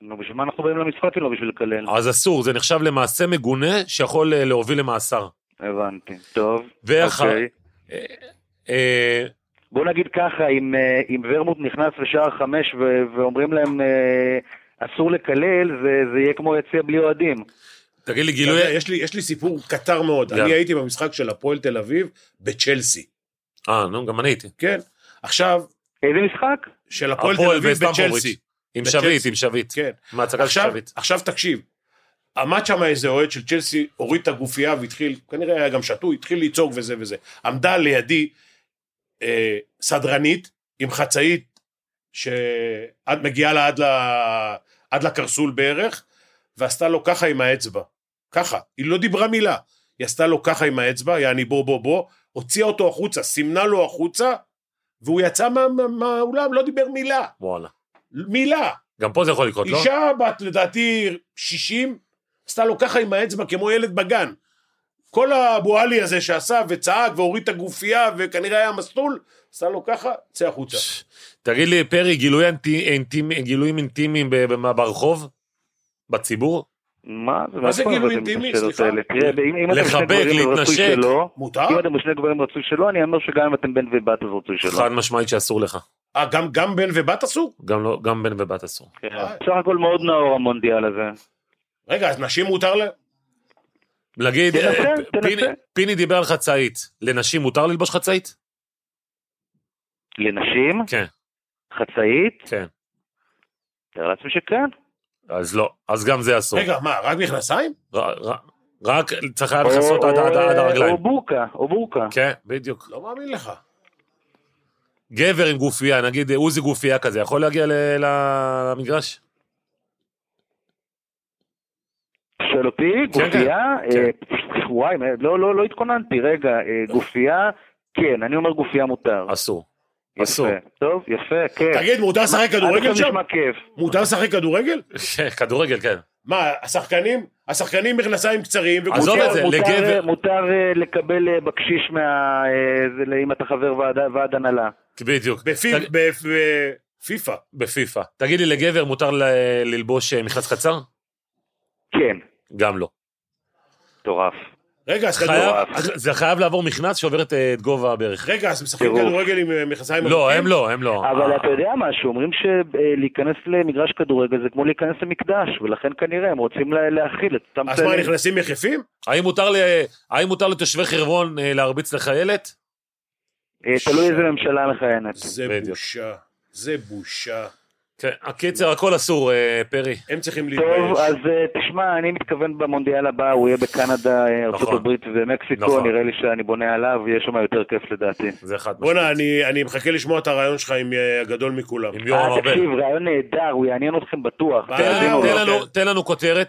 נו, בשביל מה אנחנו באים למשחק אם לא בשביל לקלל?
אז אסור, זה נחשב למעשה מגונה שיכול אה, להוביל למאסר.
הבנתי. טוב,
ואחר-
אוקיי.
אה,
בוא נגיד ככה, אם, אה, אם ורמוט נכנס לשער חמש ו- ואומרים להם אה, אסור לקלל, זה, זה יהיה כמו יציע בלי אוהדים.
תגיד לי,
אתה
גילוי...
יודע, יש לי- יש לי סיפור קצר מאוד.
כאילו יאללה.
אני הייתי במשחק של הפועל תל אביב בצ'לסי,
אה, נו, גם אני הייתי.
כן? עכשיו,
איזה משחק?
של הפועל
הפועל
תל אביב
וסטמפורד.
בצ'לסי.
עם
בצ'לסי.
שביט, עם שביט.
כן.
מהצגה של
עכשיו,
שביט.
עכשיו תקשיב, עמד שם איזה אוהד של צ'לסי, הוריד את הגופייה והתחיל, כנראה היה גם שתוי, התחיל לצעוק וזה וזה. עמדה לידי אה, סדרנית עם חצאית שמגיעה לה עד, ל, עד לקרסול בערך, ועשתה לו ככה עם האצבע. ככה, היא לא דיברה מילה. היא עשתה לו ככה עם האצבע, יעני בוא בוא בוא, הוציאה אותו החוצה, סימנה לו החוצה, והוא יצא מה- מה- מהאולם, לא דיבר מילה.
וואלה.
מילה.
גם פה זה יכול לקרות, לא?
אישה בת לדעתי 60, עשתה לו ככה עם האצבע כמו ילד בגן. כל הבו עלי הזה שעשה וצעק והוריד את הגופייה וכנראה היה מסלול, עשה לו ככה, צא החוצה.
תגיד לי, פרי, גילוי אינטי- אינטימי- גילויים אינטימיים ב- ב- ברחוב? בציבור?
מה זה?
מה זה
מאיפה
גילוי
הבאתם את
אינטימי?
השאלות
סליחה.
האלה? תראה, אם אם אתם שני
לחבק,
גברים אז רצוי
להתנשק.
שלא,
מותר?
אם אתם שני גברים רצוי שלא, אני אומר שגם אם אתם בן ובת אז רצוי שלא.
חד משמעית שאסור לך.
אה, גם, גם בן ובת עשו?
גם לא- גם בן ובת אסור.
כן. בסך הכל מאוד נאור המונדיאל הזה.
רגע, אז נשים מותר ל...
להגיד,
תנסה,
אה,
תנסה.
פיני- פיני דיבר על חצאית. לנשים מותר ללבוש חצאית?
לנשים,
כן,
חצאית,
כן.
תאר לעצמי שכן.
אז לא, אז גם זה אסור.
רגע, מה, רק מכנסיים?
ר- ר- רק צריך היה
או-
לכסות עד-
או-
עד עד
או
הרגליים.
בורקה, או בורקה.
כן, בדיוק.
לא מאמין לך.
גבר עם גופייה, נגיד אה, עוזי גופייה כזה, יכול להגיע ל- ל- למגרש?
שואל אותי,
כן,
גופייה,
כן.
אה, וואי, מה- לא, לא, לא התכוננתי, רגע, אה, גופייה, כן, אני אומר גופייה מותר.
אסור.
יפה.
אסור.
טוב, יפה, כן.
תגיד, מותר לשחק
עד
כדורגל
עכשיו
שם?
נשמע כיף.
מותר לשחק כדורגל?
כדורגל, כן.
מה, השחקנים? השחקנים מכנסיים קצרים
עזוב
וגופייה.
את זה,
מותר-
לגבר-
מותר אה, לקבל אה, בקשיש מה... אה, זה, אם אתה חבר ועד- ועד הנהלה.
בדיוק.
בפיפ-
תג-
בפ- אה, בפיפ"א.
בפיפ"א. תגיד לי, לגבר מותר ל- ללבוש אה, מכנס קצר?
כן,
גם לא.
מטורף.
רגע, אז כדור...
חייב- זה חייב לעבור מכנס שעובר את אה, את גובה הברך.
רגע, אז משחקים
תראו.
כדורגל עם אה, מכנסיים
לא,
ארוכים?
הם לא, הם לא.
אבל
אה,
אתה יודע משהו, אומרים שלהיכנס למגרש כדורגל זה כמו להיכנס למקדש, ולכן כנראה הם רוצים לה- להכיל את אותם
אז מה,
כללים.
נכנסים יחפים?
האם מותר ל- האם מותר לתושבי חרבון אה, להרביץ לחיילת?
אה, תלוי איזה ממשלה מכהנת.
זה
בדיוק.
בושה. זה בושה.
כן, הקיצר, הכל אסור, אה, פרי.
הם צריכים
טוב, אז
להתבייש.
אה, תשמע, אני מתכוון במונדיאל הבא, הוא יהיה בקנדה, אה, ארצות
נכון.
הברית ומקסיקו,
נכון.
נראה לי שאני בונה עליו, יהיה שם יותר כיף לדעתי.
זה אחד.
בואנה, אני- אני מחכה לשמוע את הרעיון שלך עם אה, הגדול מכולם.
עם
אה,
יורם ארבל.
תקשיב, רעיון נהדר, הוא יעניין אתכם בטוח.
מה?
לא, תן
אה,
לנו-
אוקיי.
תן לנו- תן לנו כותרת.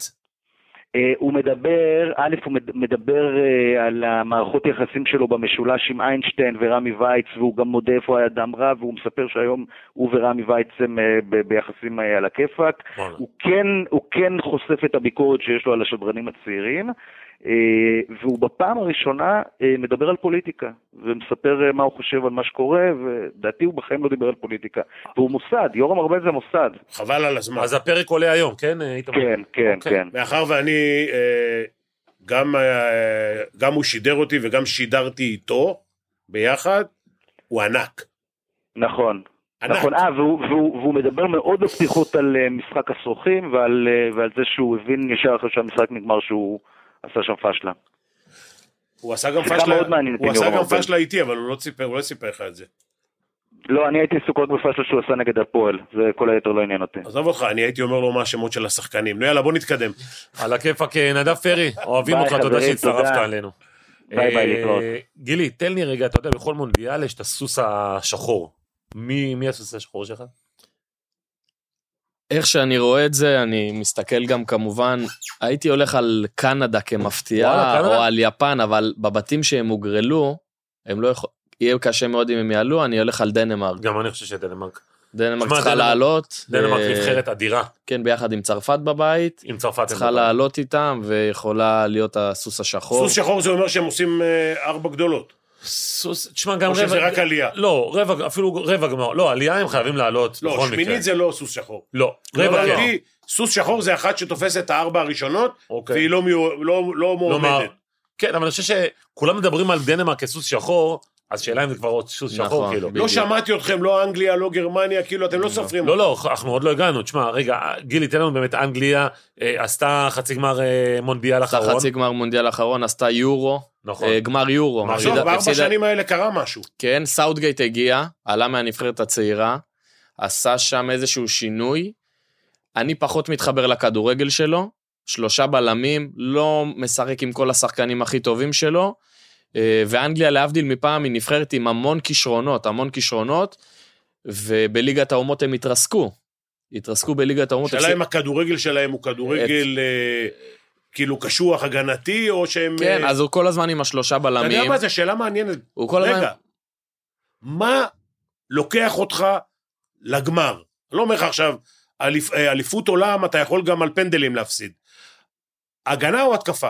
אה, הוא מדבר, א', הוא מד- מדבר אה, על המערכות יחסים שלו במשולש עם איינשטיין ורמי וייץ, והוא גם מודה איפה הוא היה אדם רע, והוא מספר שהיום הוא ורמי וייץ הם אה, ב- ביחסים אה, על הכיפאק.
וואלה.
הוא כן, הוא כן חושף את הביקורת שיש לו על השדרנים הצעירים, אה, והוא בפעם הראשונה אה, מדבר על פוליטיקה, ומספר אה, מה הוא חושב על מה שקורה, ולדעתי הוא בחיים לא דיבר על פוליטיקה. והוא מוסד, יורם ארבל זה מוסד.
חבל על הזמן.
אז הפרק עולה היום, כן, אה, איתמר?
כן, כן,
אוקיי.
כן.
מאחר ואני, אה, גם, אה, גם הוא שידר אותי וגם שידרתי איתו ביחד, הוא ענק.
נכון.
ענק.
נכון, אה, והוא, והוא, והוא מדבר מאוד בפתיחות על אה, משחק הסרוכים ועל, אה, ועל זה שהוא הבין ישר אחרי שהמשחק נגמר שהוא עשה שם פשלה.
הוא עשה גם
שיחה
פשלה,
מאוד מעניינת
הוא
עם
עשה
יורם
גם
ארבל.
פשלה איתי, אבל הוא לא סיפר, הוא לא סיפר לך את זה.
לא, אני הייתי עסוק רק בפשלה שהוא עשה נגד הפועל, זה כל היתר לא עניין אותי.
עזוב אותך, אני הייתי אומר לו מה השמות של השחקנים. נו יאללה, בוא נתקדם.
על הכיפאק, אה, נדב פרי, אוהבים
ביי,
אותך, תודה
חברים,
שהצטרפת
תודה.
אלינו.
ביי, ביי,
אה,
להתראות.
גילי, תן לי רגע, אתה יודע, בכל מונדיאל יש את הסוס השחור. מי מי הסוס השחור שלך?
איך שאני רואה את זה, אני מסתכל גם כמובן, הייתי הולך על קנדה
וואלה,
כמפתיעה,
קנדה?
או על יפן, אבל בבתים שהם הוגרלו, הם לא יכול... יהיה קשה מאוד אם הם יעלו, אני הולך על דנמרק.
גם אני חושב שדנמרק.
דנמרק
שמע,
צריכה
דנמרק-
לעלות.
דנמרק
אה,
נבחרת אדירה,
כן, ביחד עם צרפת בבית,
עם צרפת. הם
צריכה
בבית.
לעלות איתם, ויכולה להיות הסוס השחור.
סוס שחור זה אומר שהם עושים אה, ארבע גדולות.
סוס, תשמע, גם
או
רבע...
שזה רק עלייה.
לא, רבע, אפילו רבע גמר. לא, עלייה הם חייבים לעלות,
לא,
בכל מקרה.
שמינית זה לא סוס שחור.
לא, רבע
רבע
גמר.
סוס שחור זה אחת שתופסת את הארבע הראשונות,
אוקיי.
והיא לא מיו- לא- לא
כלומר,
מועמדת.
כן, אבל אני חושב שכולם מדברים על דנמרק כסוס שחור, אז שאלה אם זה כבר עוד סוס שחור,
נכון,
כאילו.
לא שמעתי אתכם, לא אנגליה, לא גרמניה, כאילו, אתם לא סופרים.
לא, לא, אנחנו עוד לא הגענו. תשמע, רגע, גילי, תן לנו באמת, אנגליה אה, עשתה חצי גמר אה, מונדיאל
עשתה
אחרון.
חצי גמר מונדיאל אחרון, עשתה יורו,
נכון.
אה, גמר יורו.
גמר
עכשיו,
הפסידה-
בארבע
הפסידה-
שנים האלה קרה משהו.
כן, סאוטגייט הגיע, עלה מהנבחרת הצעירה, עשה שם איזשהו שינוי. אני פחות מתחבר לכדורגל שלו, שלושה בלמים, לא משחק עם כל השחקנים הכי טובים שלו, אה, ואנגליה, להבדיל מפעם, היא נבחרת עם המון כישרונות, המון כישרונות, ובליגת האומות הם התרסקו. התרסקו בליגת האומות.
השאלה אם הכדורגל שלהם הוא כדורגל אה, כאילו קשוח הגנתי, או שהם...
כן,
אה,
אז הוא כל הזמן עם השלושה
אתה יודע
בלמים.
מה, זו שאלה מעניינת.
הוא כל הזמן...
רגע, מה לוקח אותך לגמר? אני לא אומר לך עכשיו, אליפ- אה, אליפות עולם, אתה יכול גם על פנדלים להפסיד. הגנה או התקפה?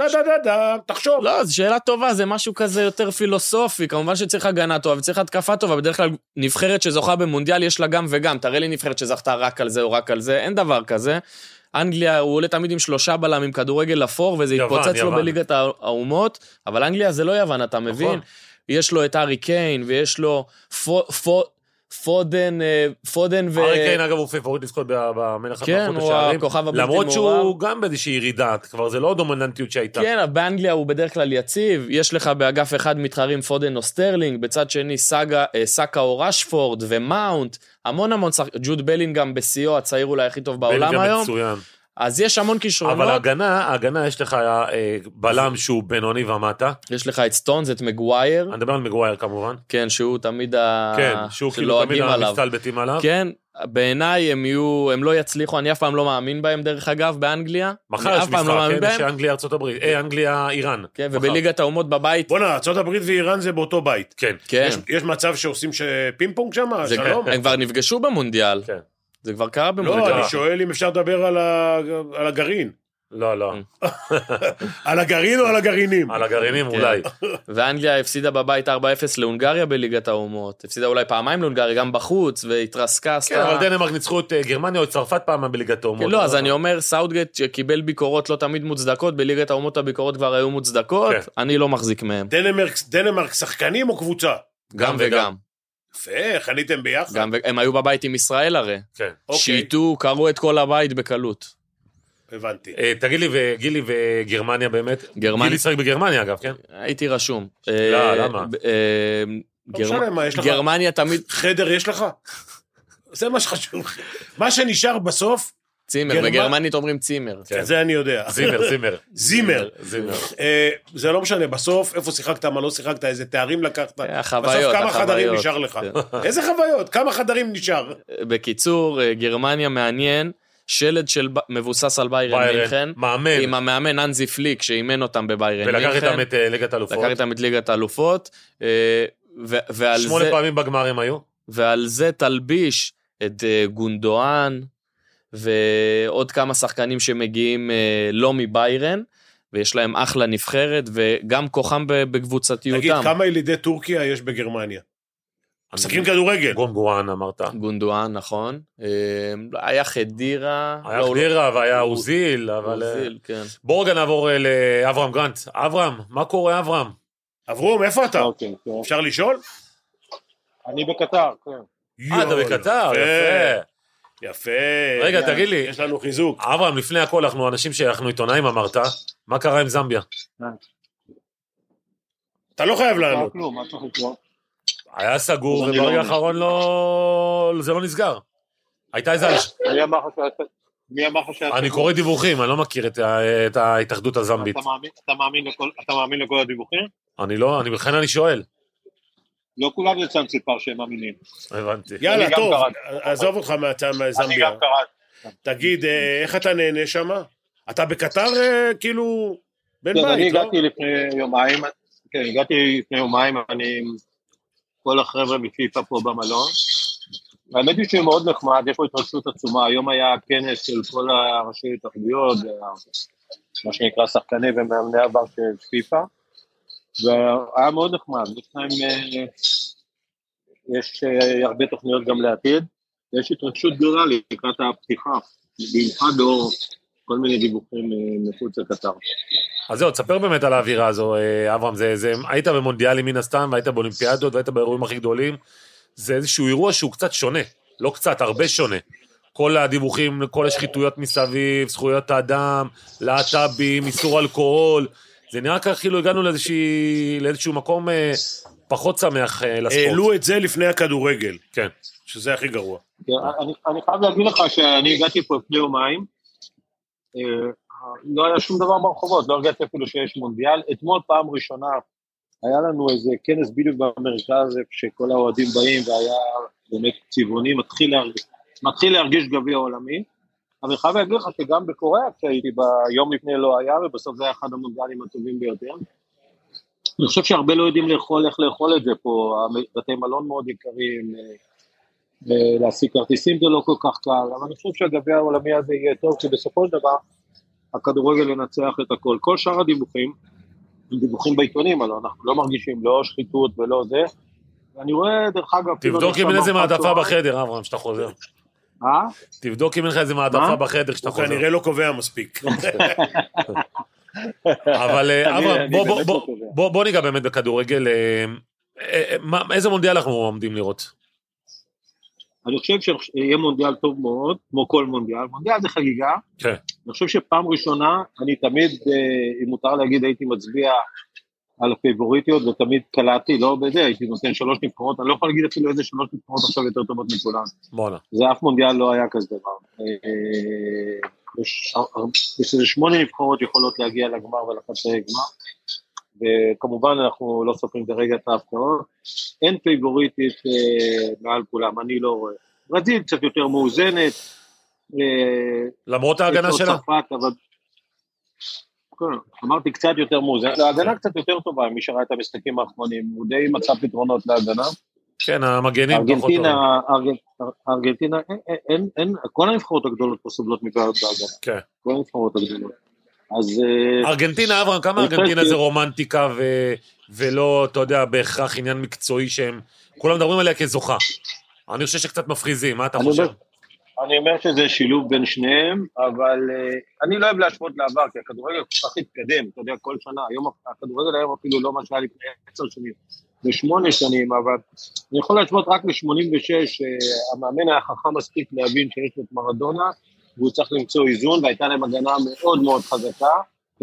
דה דה דה דה, תחשוב.
לא, זו שאלה טובה, זה משהו כזה יותר פילוסופי. כמובן שצריך הגנה טובה וצריך התקפה טובה. בדרך כלל נבחרת שזוכה במונדיאל יש לה גם וגם. תראה לי נבחרת שזכתה רק על זה או רק על זה, אין דבר כזה. אנגליה, הוא עולה תמיד עם שלושה בלמים, כדורגל אפור, וזה
יוון,
התפוצץ לו
יוון. נכון.
בליגת הא- האומות, אבל אנגליה זה לא יוון, אתה מבין? יש לו את הארי קיין, ויש לו פו- פו- פודן, אה, פודן ו...
ארי קיין, כן, אגב, הוא פייבוריט לזכות ב- במלך
כן,
המלכות
הוא
השערים.
הכוכב הבלתי
למרות שהוא
מעורב.
גם באיזושהי ירידה, כבר זה לא הדומיננטיות שהייתה.
כן, אבל באנגליה הוא בדרך כלל יציב, יש לך באגף אחד מתחרים פודן או סטרלינג, בצד שני סאגה, אה, סאקה או רשפורד ומאונט, המון המון שחק... ג'וד בלינגהם בשיאו, הצעיר אולי הכי טוב בעולם
בלגיה
היום,
מצוין.
אז יש המון כישרונות,
אבל ההגנה, ההגנה יש לך אה, בלם שהוא בינוני ומטה.
יש לך את סטונס, את מגווייר,
אני מדבר על מגווייר כמובן.
כן, שהוא תמיד ה...
כן, שהוא כאילו
שלועגים
תמיד
עליו.
המסתלבטים עליו.
כן, בעיניי הם יהיו, הם לא יצליחו, אני אף פעם לא מאמין בהם דרך אגב, באנגליה.
מחר
אני
יש
אף פעם לא
משחק,
מאמין
כן,
בהם.
יש אנגליה, ארצות הברית, אה, אנגליה, איראן.
כן,
מחר.
ובליגת האומות בבית,
בואנה, ארה"ב ואיראן זה באותו בית.
כן.
כן,
יש- יש מצב שעושים ש- פינג פונג שם?
זה-
שלום?
הם כבר נפגשו במונדיאל,
כן.
זה כבר קרה במונדיאל.
לא, אני שואל אם אפשר לדבר על ה- על הגרעין.
לא, לא.
כן.
על הגרעין או על הגרעינים?
על הגרעינים אולי.
כן. ואנגליה הפסידה בבית 4-0 להונגריה בליגת האומות. הפסידה אולי פעמיים להונגריה, גם בחוץ, והתרסקה.
כן,
עשתה-
אבל דנמרק ניצחו את אה, גרמניה או את צרפת פעם בליגת האומות.
כן, לא, אז אני אומר, סאוטגייט שקיבל ביקורות לא תמיד מוצדקות, בליגת האומות הביקורות כבר היו מוצדקות,
כן.
אני לא מחזיק מהם.
דנמרק, דנמרק שחקנים או קבוצה?
גם וגם.
יפה, חניתם ביחד.
גם ו- הם היו בבית עם ישראל הרי.
כן.
אוקיי.
שיטו, קרעו את כל הבית בקלות.
הבנתי.
אה, תגיד לי, וגילי וגרמניה באמת?
גרמניה-
גילי שיחק בגרמניה אגב, כן?
הייתי רשום. לא,
למה?
לא משנה מה, יש לך.
גרמניה תמיד,
חדר יש לך? זה מה שחשוב. מה שנשאר בסוף,
צימר,
גרמנ-
בגרמנית אומרים צימר.
כן.
זה אני יודע.
זימר, זימר.
זימר.
זימר.
אה, זה לא משנה, בסוף, איפה שיחקת, מה לא שיחקת, איזה תארים לקחת.
אה,
החוויות,
בסוף כמה חדרים
החוויות.
נשאר לך.
כן.
איזה חוויות? כמה חדרים נשאר?
בקיצור, אה, גרמניה מעניין, שלד של ב- מבוסס על ביירן מינכן,
ביירן, מאמן,
עם המאמן אנזי פליק שאימן אותם בביירן
ולקח איתם
מינכן,
את אה, ליגת האלופות.
לקח איתם את ליגת האלופות, אה, ו- ועל
שמונה
זה-
פעמים בגמר הם היו.
ועל זה תלביש את אה, גונדואן ועוד כמה שחקנים שמגיעים אה, לא מביירן, ויש להם אחלה נבחרת, וגם כוחם ב-
תגיד,
בקבוצתיותם.
כמה ילידי טורקיה יש בגרמניה? משחקים כדורגל.
גונגואן אמרת.
גונדואן, נכון. אה, היה חדירה.
היה
לא, הוא לא-
חדירה והיה
הוא-
אוזיל, אבל... אה,
אוזיל, כן.
בואו רגע נעבור אה, לאברהם גרנט. אברהם, מה קורה אברהם?
אברום, איפה אתה?
אוקיי, כן.
אפשר לשאול?
אני בקטר, כן.
אה, אתה
יואו,
בקטר, יפה.
יפה.
רגע, תגיד לי,
יש לנו חיזוק.
אברהם, לפני הכל, אנחנו אנשים שאנחנו עיתונאים אמרת, מה קרה עם זמביה?
אתה לא חייב
לא
לענות.
היה כלום, מה צריך לקרות?
היה סגור,
אז אני
וברגע
לא-
האחרון לא... זה לא נסגר. הייתה איזה... אנש-
מי אמר לך שהיה סגור? מי אמר לך שהיה
אני
סגור?
קורא דיווחים, אני לא מכיר את ה- את ההתאחדות הזמבית.
אתה מאמין- אתה מאמין לכל- אתה מאמין לכל הדיווחים?
אני לא, אני- לכן אני שואל.
לא כולם זה צאנציפר שהם מאמינים.
הבנתי.
יאללה,
אני גם
טוב,
קראתי.
עזוב אותך מהצד
אני
מהזמביה.
גם קראתי.
תגיד, אה, איך אתה נהנה שם? אתה בקטר אה, כאילו בן
כן, אני
בית, לא?
הגעתי לפני יומיים, כן, הגעתי לפני יומיים, אני עם כל החבר'ה מפיפ"א פה במלון. האמת היא שהוא מאוד נחמד, יש פה התרגשות עצומה, היום היה כנס של כל הראשי התאחדויות, מה שנקרא שחקני ומאמני עבר של פיפ"א, והיה מאוד נחמד, יש להם, אה, יש אה, הרבה תוכניות גם לעתיד, ויש התרגשות גדולה לקראת הפתיחה, במיוחד לאור כל מיני דיווחים אה, מחוץ לקטר.
אז זהו, תספר באמת על האווירה הזו, אה, אברהם. זה, זה, היית במונדיאלים מן הסתם, והיית באולימפיאדות, והיית באירועים הכי גדולים. זה איזשהו אירוע שהוא קצת שונה. לא קצת, הרבה שונה. כל הדיווחים, כל השחיתויות מסביב, זכויות האדם, להט"בים, איסור אלכוהול. זה נראה ככה כאילו הגענו לאיזושהי, לאיזשהו מקום אה, פחות שמח אה, לספורט.
העלו את זה לפני הכדורגל,
כן.
שזה הכי גרוע.
כן, אני, אני חייב להגיד לך שאני הגעתי פה לפני יומיים, אה, לא היה שום דבר ברחובות, לא הרגשתי אפילו שיש מונדיאל. אתמול פעם ראשונה היה לנו איזה כנס בדיוק במרכז, איפה שכל האוהדים באים והיה באמת צבעוני, מתחיל, להרג... מתחיל להרגיש גביע עולמי. אבל אני חייב להגיד לך שגם בקוריאה כשהייתי ביום לפני לא היה, ובסוף זה היה אחד המונדיאלים הטובים ביותר. אני חושב שהרבה לא יודעים לאכול, איך לאכול את זה פה, בתי מלון מאוד יקרים, אה, ולהשיג כרטיסים זה לא כל כך קל, אבל אני חושב שהגביע העולמי הזה יהיה טוב, כי בסופו של דבר הכדורגל ינצח את הכל. כל שאר הדיווחים הם דיווחים בעיתונים, הלוא אנחנו לא מרגישים לא שחיתות ולא זה. ואני רואה, דרך אגב... אפילו
תבדוק
אני
אם אין
עכשיו
איזה
בארוחת
מעטפה
צהריים-
בחדר, אברהם, שאתה חוזר.
אה?
תבדוק אם אין לך איזה מעטפה
מה?
בחדר כשאתה
הוא
חוזר.
כנראה לא קובע מספיק.
אבל אה,
אני-
אברהם,
אני
בוא- בוא-
באמת
בוא-
לא קובע.
בוא בוא ניגע באמת בכדורגל. אה, אה, מה- איזה מונדיאל אנחנו עומדים לראות?
אני חושב שיהיה מונדיאל טוב מאוד, כמו כל מונדיאל. מונדיאל זה חגיגה.
כן.
אני חושב שפעם ראשונה, אני תמיד, אה, אם מותר להגיד, הייתי מצביע על הפייבוריטיות, ותמיד קלעתי, לא בזה, הייתי נותן שלוש נבחרות, אני לא יכול להגיד אפילו איזה שלוש נבחרות עכשיו יותר טובות מכולן.
בואנה.
זה אף מונדיאל לא היה כזה דבר. אה, יש הר- הר- יש איזה שמונה נבחרות יכולות להגיע לגמר ולחצי גמר, וכמובן אנחנו לא סופרים כרגע את ההפתעות. אין פייבוריטית אה, מעל כולם, אני לא רואה. ברזיל קצת יותר מאוזנת. אה,
למרות ההגנה
יש עוד
שלה?
צרפת, אבל... כן, אמרתי קצת יותר מאוזנת, ההגנה קצת יותר טובה, מי שראה את המשחקים האחרונים, הוא די מצא פתרונות להגנה.
כן, המגנים פחות טובים.
ארגנטינה, ארגנ- ארגנטינה, אין- אין, אין, כל הנבחרות הגדולות פה סובלות מבעיות בהגנה.
כן.
כל הנבחרות הגדולות. אז... אה,
ארגנטינה, אברהם, כמה
אני חושב
ארגנטינה
ש-
זה רומנטיקה ו... ולא, אתה יודע, בהכרח עניין מקצועי שהם... כולם מדברים עליה כזוכה. אני חושב שקצת מפחיזים, מה אתה
אני
חושב?
אומר- אני אומר שזה שילוב בין שניהם, אבל אה, אני לא אוהב להשוות לעבר, כי הכדורגל כל כך התקדם, אתה יודע, כל שנה, היום הכדורגל היום אפילו לא מה שהיה לפני עשר שנים, זה שמונה שנים, אבל אני יכול להשוות רק ל-86, המאמן היה חכם מספיק להבין שיש לו את מרדונה, והוא צריך למצוא איזון, והייתה להם הגנה מאוד מאוד חזקה,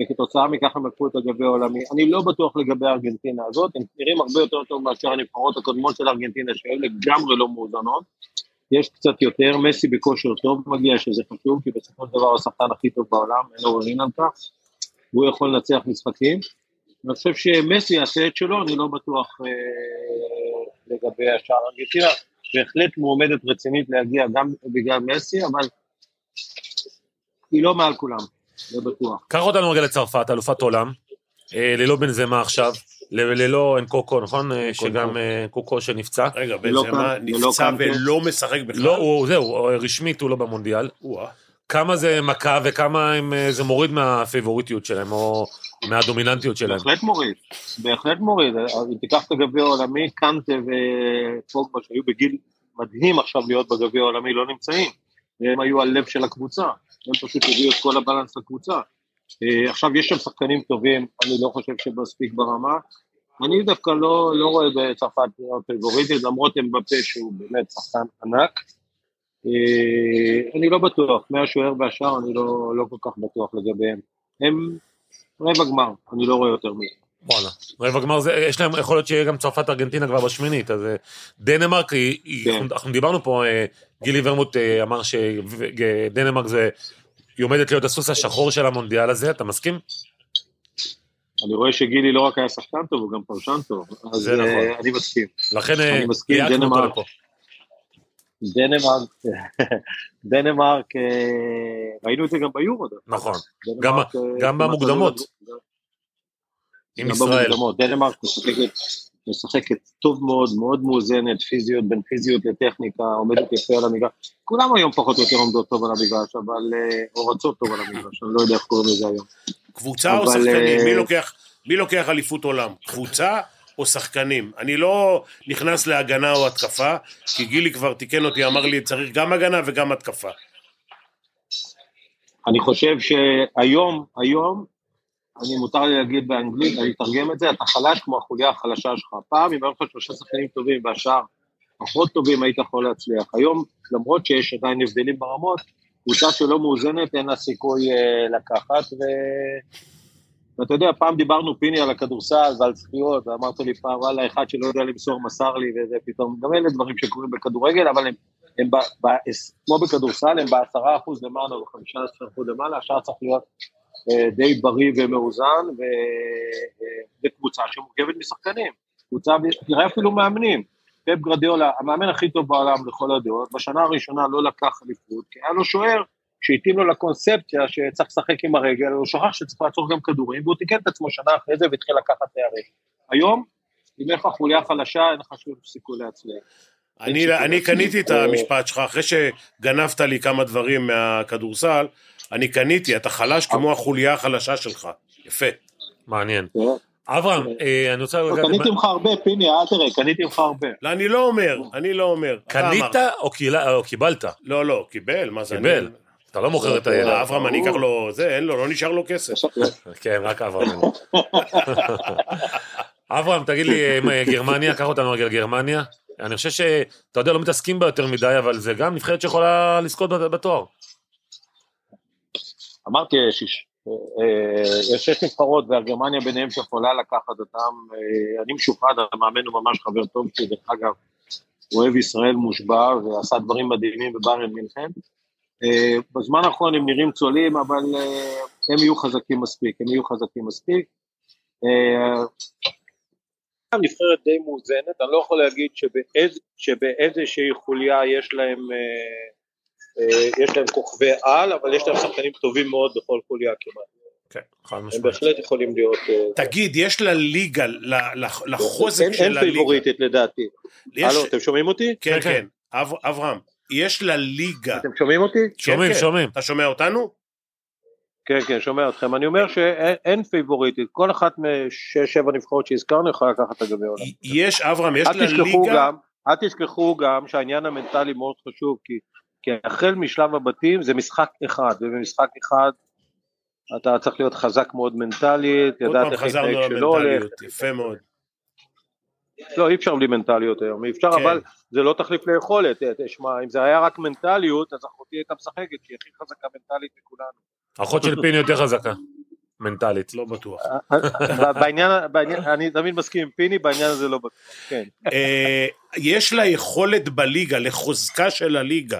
וכתוצאה מכך הם לקחו את הגביע העולמי. אני לא בטוח לגבי הארגנטינה הזאת, הם נראים הרבה יותר טוב מאשר הנבחרות הקודמות של ארגנטינה, שהיו לגמרי לא מאוזנות. יש קצת יותר, מסי בכושר טוב מגיע, שזה חשוב, כי בסופו של דבר הוא השחקן הכי טוב בעולם, אין עוררין על כך, והוא יכול לנצח משחקים. אני חושב שמסי יעשה את שלו, אני לא בטוח אה, לגבי השאר. ארגנטינה בהחלט מועמדת רצינית להגיע גם בגלל מסי, אבל היא לא מעל כולם, זה בטוח.
קח אותנו רגע לצרפת, אלופת עולם, אה, ללא בנזמה עכשיו, ל- ללא אנקוקו, נכון? אה, שגם אה, קוקו שנפצע.
רגע,
ולא
בנזמה
לא קנטה, ולא
נפצע
קנטה.
ולא משחק בכלל?
לא, הוא, זהו, רשמית הוא לא במונדיאל.
וואה.
כמה זה מכה וכמה הם, אה, זה מוריד מהפייבוריטיות שלהם, או מהדומיננטיות שלהם.
בהחלט מוריד, בהחלט מוריד. אז אם תיקח את הגביע העולמי, קנטה ופוגבה שהיו בגיל מדהים עכשיו להיות בגביע העולמי, לא נמצאים. הם היו הלב של הקבוצה, הם פשוט הביאו את כל הבלנס לקבוצה. אה, עכשיו יש שם שחקנים טובים, אני לא חושב שמספיק ברמה. אני דווקא לא, לא רואה בצרפת פייבוריטית, למרות אמבפה שהוא באמת שחקן ענק. אה, אני לא בטוח, מהשוער והשאר אני לא, לא כל כך בטוח לגביהם. הם רבע גמר, אני לא רואה יותר מזה.
וואלה. רבע גמר זה, אה, יש להם, יכול להיות שיהיה גם צרפת ארגנטינה כבר בשמינית, אז אה, דנמרק, היא, היא,
כן.
אנחנו- אנחנו דיברנו פה, אה, גילי ורמוט אה, אמר שדנמרק זה, היא עומדת להיות הסוס השחור של המונדיאל הזה, אתה מסכים?
אני רואה שגילי לא רק היה שחקן טוב, הוא גם פרשן טוב. אז
זה נכון.
אה, אני מסכים.
לכן אה,
אני מסכים,
ליהקנו אותו
דנמרק.
לפה.
דנמרק, דנמרק, אה, ראינו את זה גם ביורו. דרך אגב.
נכון.
דנמרק,
גם-
אה,
גם
כמעט
במוקדמות.
עלו לג-
עם
גם
ישראל.
במוקדמות. דנמרק משחקת, משחקת טוב מאוד, מאוד מאוזנת, פיזיות, בין פיזיות לטכניקה, עומדת יפה על המגרש. כולם היום פחות או יותר עומדות טוב על המגרש, אבל, אה, או רצות טוב על המגרש, אני לא יודע איך קוראים לזה היום.
קבוצה או
אבל,
שחקנים?
אה,
מי לוקח, מי לוקח אליפות עולם? קבוצה או שחקנים? אני לא נכנס להגנה או התקפה, כי גילי כבר תיקן אותי, אמר לי, צריך גם הגנה וגם התקפה.
אני חושב שהיום, היום, אני מותר לי להגיד באנגלית, אני אתרגם את זה, אתה חלש כמו החוליה החלשה שלך. פעם, אם היו לך שלושה שחקנים טובים והשאר פחות טובים, היית יכול להצליח. היום, למרות שיש עדיין הבדלים ברמות, קבוצה שלא מאוזנת, אין לה סיכוי אה, לקחת, ו... ואתה יודע, פעם דיברנו פיני על הכדורסל ועל זכיות, ואמרת לי פעם, וואלה, אחד שלא יודע למסור מסר לי, וזה פתאום, גם אלה דברים שקורים בכדורגל, אבל הם הם ב, ב, כמו בכדורסל, הם בעשרה אחוז למעלה או בחמישה עשר אחוז למעלה, השאר צריך להיות אה, די בריא ומאוזן, ו- אה, וקבוצה שמורכבת משחקנים. קבוצה, תראה אפילו מאמנים. פפ גרדיאולה, המאמן הכי טוב בעולם לכל הדעות, בשנה הראשונה לא לקח אליפות, כי היה לו שוער שהתאים לו לקונספציה שצריך לשחק עם הרגל, הוא שכח שצריך לעצור גם כדורים, והוא תיקן את עצמו שנה אחרי זה והתחיל לקחת תארים. היום, אם יש לך חוליה חלשה, אין לך שום סיכוי להצליח.
אני, אני קניתי
אה,
את המשפט שלך, אחרי שגנבת לי כמה דברים מהכדורסל, אני קניתי, אתה חלש
אה,
כמו החוליה החלשה שלך. יפה.
מעניין.
כן.
אברהם, אה, אני רוצה...
לא,
לגעת-
קניתי ממך הרבה, פיני, אל תראה, קניתי ממך הרבה.
לא, אני לא אומר, אני לא אומר. אתה
קנית
אמרת.
או קילה- או קיבלת?
לא, לא, קיבל, מה זה?
קיבל.
אני-
כן, אתה לא מוכר את
אה,
הילד.
אברהם, אני אקח לו, זה, אין לו, לא נשאר לו כסף.
כן, רק אברהם. אברהם, תגיד לי, אה, גרמניה, קח אותנו רגע לגרמניה. אני חושב שאתה יודע, לא מתעסקים בה יותר מדי, אבל זה גם נבחרת שיכולה לזכות בת- בתואר.
אמרתי, יש שש- אה, יש שש נבחרות, והגרמניה ביניהם שיכולה לקחת אותם. אה, אני משוחד, המאמן הוא ממש חבר טוב שלי, דרך אגב, הוא אוהב ישראל מושבע, ועשה דברים מדהימים בבארן מינכן. אה, בזמן האחרון הם נראים צולעים, אבל אה, הם יהיו חזקים מספיק, הם יהיו חזקים מספיק. אה, הנבחרת די מאוזנת, אני לא יכול להגיד שבאיז, שבאיזושהי חוליה יש להם, אה, אה, יש להם כוכבי על, אבל יש להם שחקנים טובים מאוד בכל חוליה כמעט.
כן, חד
הם
משמעית.
בהחלט יכולים להיות... אה,
תגיד, יש לליגה, ל- לח- לחוזק
אין-
של
אין
הליגה.
פייבוריטית לדעתי.
יש-
הלו, אתם שומעים אותי?
כן,
כן,
כן. אב- אברהם, יש לליגה.
אתם שומעים אותי?
כן,
שומעים,
כן.
שומעים.
אתה שומע אותנו?
כן, כן, שומע אתכם. אני אומר שאין אין פייבוריטית, כל אחת משש, שבע נבחרות שהזכרנו יכולה לקחת את הגביע העולם.
יש, אברהם, יש
אל תשכחו
לליגה...
גם, אל תשכחו גם שהעניין המנטלי מאוד חשוב, כי, כי החל משלב הבתים זה משחק אחד, ובמשחק אחד אתה צריך להיות חזק מאוד מנטלית,
עוד
לדעת
פעם
איך
חזרנו
להתנהג שלא הולך.
למנטליות, יפה מאוד.
לא, אי אפשר בלי מנטליות היום, אי אפשר,
כן.
אבל זה לא תחליף ליכולת. אה, תשמע, אם זה היה רק מנטליות, אז אחותי הייתה משחקת, שהיא הכי חזקה מנטלית מכולנו.
אחות של פיני יותר חזקה, מנטלית.
לא בטוח.
ב- בעניין, בעניין, אני תמיד מסכים עם פיני, בעניין הזה לא בטוח, כן.
אה, יש לה יכולת בליגה, לחוזקה של הליגה,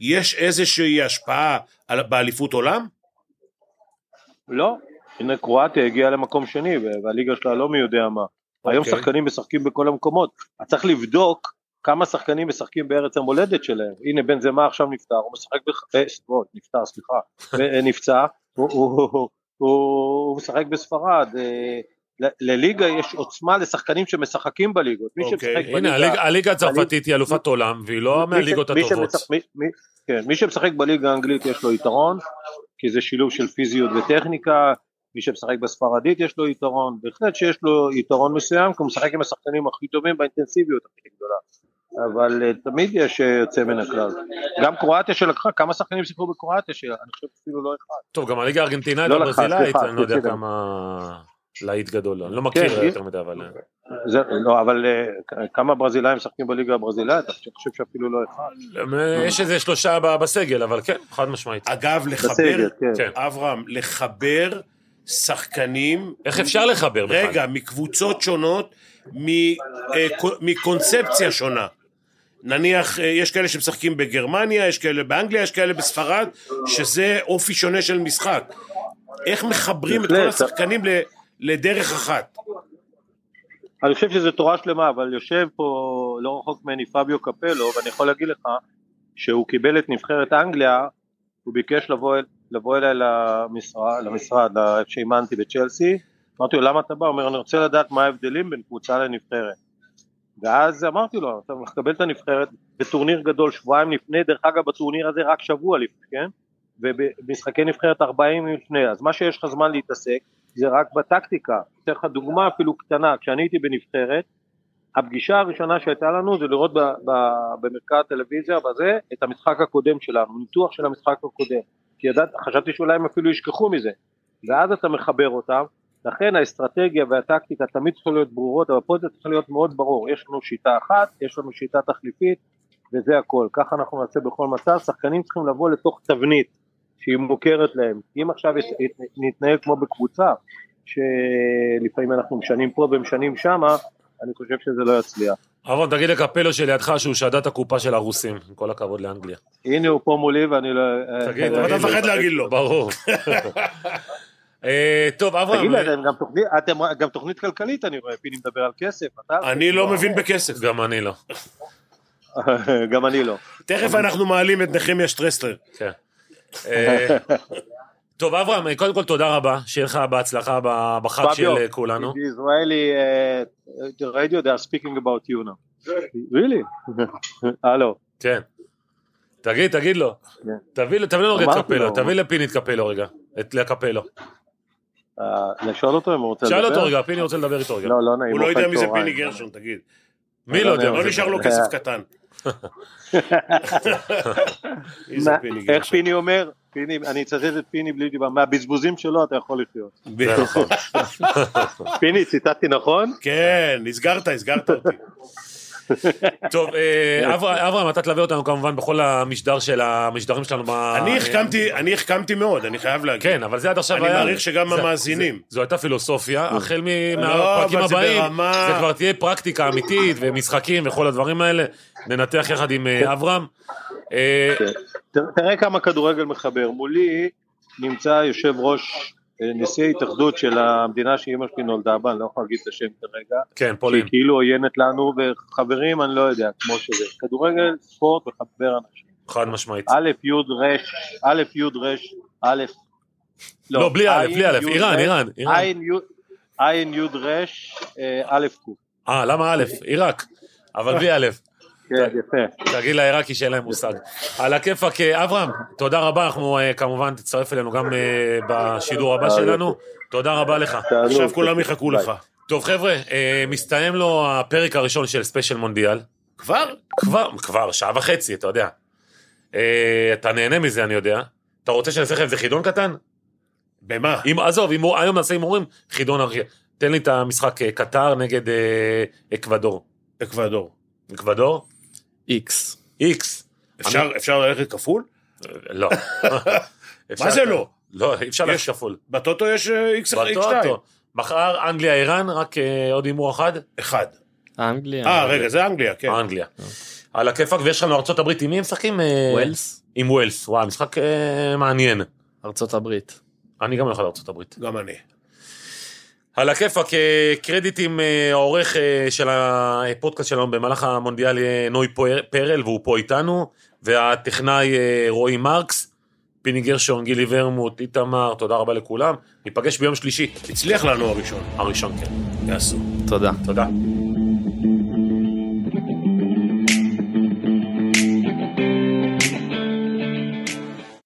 יש איזושהי השפעה על- באליפות עולם?
לא, הנה קרואטיה הגיעה למקום שני, והליגה שלה לא מי יודע מה. היום
אוקיי.
שחקנים משחקים בכל המקומות, אז צריך לבדוק כמה שחקנים משחקים בארץ המולדת שלהם. הנה בן זמה עכשיו נפטר, הוא משחק בח... אה, סבוד, נפטר, סליחה, אה, נפצע, הוא, הוא, הוא, הוא, הוא משחק בספרד. אה, ל- לליגה יש עוצמה לשחקנים שמשחקים בליגות. מי
אוקיי,
שמשחק בליגה...
הנה, הליגה- הליגה הצרפתית היא אלופת עולם, והיא לא
מי ש-
מהליגות
מי
הטובות.
שמשחק- מי- מי- כן, מי שמשחק בליגה האנגלית יש לו יתרון, כי זה שילוב של פיזיות וטכניקה, מי שמשחק בספרדית יש לו יתרון, בהחלט שיש לו יתרון מסוים, כי הוא משחק עם השחקנים הכי טובים באינטנסיביות הכי גדולה. אבל אה, תמיד יש אה, יוצא מן הכלל. גם קרואטיה שלקחה, כמה שחקנים שיחקו בקרואטיה שלה? אני חושב אפילו לא אחד.
טוב, גם הליגה הארגנטינאית
לא לקחה,
הברזילאית,
סליחה,
אני לא יודע
סליחה.
כמה להיט גדול, אני לא מכיר
כן,
יותר מדי, אבל...
זה, לא, אבל אה, כ- כמה ברזילאים משחקים בליגה הברזילאית? אני חושב שאפילו לא אחד.
יש איזה שלושה ב- בסגל, אבל כן, חד משמעית.
אגב, לחבר,
בסדר, כן.
כן.
אברהם, לחבר שחקנים,
איך אפשר לחבר בכלל?
רגע, מקבוצות שונות, מ- אה, קו- מקונספציה שונה. נניח, אה, יש כאלה שמשחקים בגרמניה, יש כאלה באנגליה, יש כאלה בספרד, שזה אופי שונה של משחק. איך מחברים את כל
בהחלט.
השחקנים ל- לדרך אחת?
אני חושב שזו תורה שלמה, אבל יושב פה לא רחוק ממני פביו קפלו, ואני יכול להגיד לך שהוא קיבל את נבחרת אנגליה, הוא ביקש לבוא, אל- לבוא אליי למשרד, למשרד, ל- איפה שאימנתי בצ'לסי, אמרתי לו למה אתה בא? הוא אומר אני רוצה לדעת מה ההבדלים בין קבוצה לנבחרת. ואז אמרתי לו, אתה מקבל את הנבחרת בטורניר גדול שבועיים לפני, דרך אגב בטורניר הזה רק שבוע לפני, כן? ובמשחקי נבחרת 40 לפני, אז מה שיש לך זמן להתעסק זה רק בטקטיקה. אתן לך דוגמה אפילו קטנה, כשאני הייתי בנבחרת, הפגישה הראשונה שהייתה לנו זה לראות ב, ב, במרכז הטלוויזיה בזה את המשחק הקודם שלנו, ניתוח של המשחק הקודם, כי ידעת, חשבתי שאולי הם אפילו ישכחו מזה, ואז אתה מחבר אותם, לכן האסטרטגיה והטקטיקה תמיד צריכות להיות ברורות, אבל פה זה צריך להיות מאוד ברור, יש לנו שיטה אחת, יש לנו שיטה תחליפית, וזה הכל, ככה אנחנו נעשה בכל מצב, שחקנים צריכים לבוא לתוך תבנית שהיא מוכרת להם, כי אם עכשיו ית- ית- נתנהל כמו בקבוצה, שלפעמים אנחנו משנים פה ומשנים שמה, אני חושב שזה לא יצליח.
אברהם, תגיד לקפלו שלידך שהוא שדד את הקופה של הרוסים, עם כל הכבוד לאנגליה.
הנה הוא פה מולי ואני לא... אה,
תגיד,
אה,
אבל אתה
אה,
מפחד להגיד לא.
ברור. אה, טוב, אברהם,
תגיד, אתם גם תוכנית- אתם גם תוכנית כלכלית אני רואה, פיני מדבר על כסף, אתה...
אני לא מבין בכסף.
גם אני לא.
גם אני לא.
תכף אנחנו מעלים את נחמיה שטרסלר.
כן. אה, טוב, אברהם, קודם כל תודה רבה, שיהיה לך בהצלחה ב- בחג
פביו,
של אה, כולנו.
The Israeli uh, the radio they are speaking about you now. really? הלו.
כן. תגיד, תגיד לו. תביא לו- תביא לנו רגע את
כן. אמרתי
קפלו,
לו.
תביא לפיני את קפלו רגע. את לקפלו.
אה, לשאול אותו אם הוא רוצה לדבר?
שאל אותו רגע, פיני רוצה לדבר איתו רגע.
לא, לא נעים.
הוא לא יודע
אוכל
מי זה
צהריים.
פיני גרשון, תגיד.
מי לא יודע? מה
לא
זה?
נשאר לו
אה.
כסף קטן. מי זה
מה-
פיני
איך
גרשון?
פיני אומר? פיני, אני אצטט את פיני בלי דיבה, מהבזבוזים שלו אתה יכול לחיות.
זה נכון.
פיני, ציטטתי נכון?
כן, הסגרת, הסגרת אותי.
טוב, אה, אברה- אברהם, אתה תלווה אותנו כמובן בכל המשדר של המשדרים שלנו. ב-
אני החכמתי, אני החכמתי מאוד, אני חייב להגיד.
כן, אבל זה עד עכשיו
אני
היה...
מעריך שגם
זה-
המאזינים.
זו הייתה פילוסופיה, החל מ- מהפרקים
אבל זה
הבאים,
ברמה-
זה כבר תהיה פרקטיקה אמיתית ומשחקים וכל הדברים האלה, ננתח יחד עם
כן.
אה, אברהם. אה,
תראה- תראה כמה כדורגל מחבר. מולי נמצא יושב ראש, אה, נשיא ההתאחדות של המדינה שאימא שלי נולדה בה, אני לא יכול להגיד את השם כרגע,
כן,
שהיא
פולין.
כאילו עוינת לנו, וחברים אני לא יודע, כמו שזה. כדורגל, ספורט וחבר אנשים.
חד משמעית.
א', י', ר', א', י', ר', א',
לא, בלי א', בלי א', איראן, איראן, איראן.
עין, י', עין, י', ר', אה, א', ק'.
אה, למה א'? עיראק. אבל בלי א'.
כן, יפה.
תגיד לעיראקי שאין להם מושג. על הכיפאק, אה, אברהם, תודה רבה, אנחנו אה, כמובן תצטרף אלינו גם אה, בשידור הבא שלנו. תודה רבה לך.
תענוג.
עכשיו כולם יחכו לך.
טוב חבר'ה, אה, מסתיים לו הפרק הראשון של ספיישל מונדיאל.
כבר?
כבר, כבר, שעה וחצי, אתה יודע. אה, אתה נהנה מזה, אני יודע. אתה רוצה שאני אעשה לך איזה חידון קטן?
במה?
אם, עזוב, אם, הוא- היום נעשה הימורים, חידון ארכי. תן לי את המשחק אה, קטר נגד אה, אקוודור.
אקוודור.
אקוודור?
איקס.
איקס.
אפשר- אפשר ללכת כפול?
אה, לא. אפשר-
מה זה לא?
לא, אי אפשר
יש-
ללכת כפול.
בטוטו יש אה, איקס איקס
בטוטו. מחר אנגליה איראן, רק אה, עוד הימור אחד,
אחד.
אנגליה.
אה, רגע, זה אנגליה, כן.
אנגליה. על הכיפאק, ויש לנו ארצות הברית, עם מי הם משחקים? אה,
ווילס,
עם ווילס, וואי, משחק אה, מעניין.
ארצות הברית.
אני גם הולך לארצות הברית.
גם אני.
על הכיפאק, אה, קרדיטים, אה, העורך אה, של הפודקאסט שלנו במהלך המונדיאל יהיה נוי פואר- פרל, והוא פה איתנו, והטכנאי אה, רועי מרקס, פיני גרשון, גילי ורמוט, איתמר, תודה רבה לכולם. ניפגש ביום שלישי,
הצליח לנו הראשון.
הראשון כן.
יעשו.
תודה.
תודה.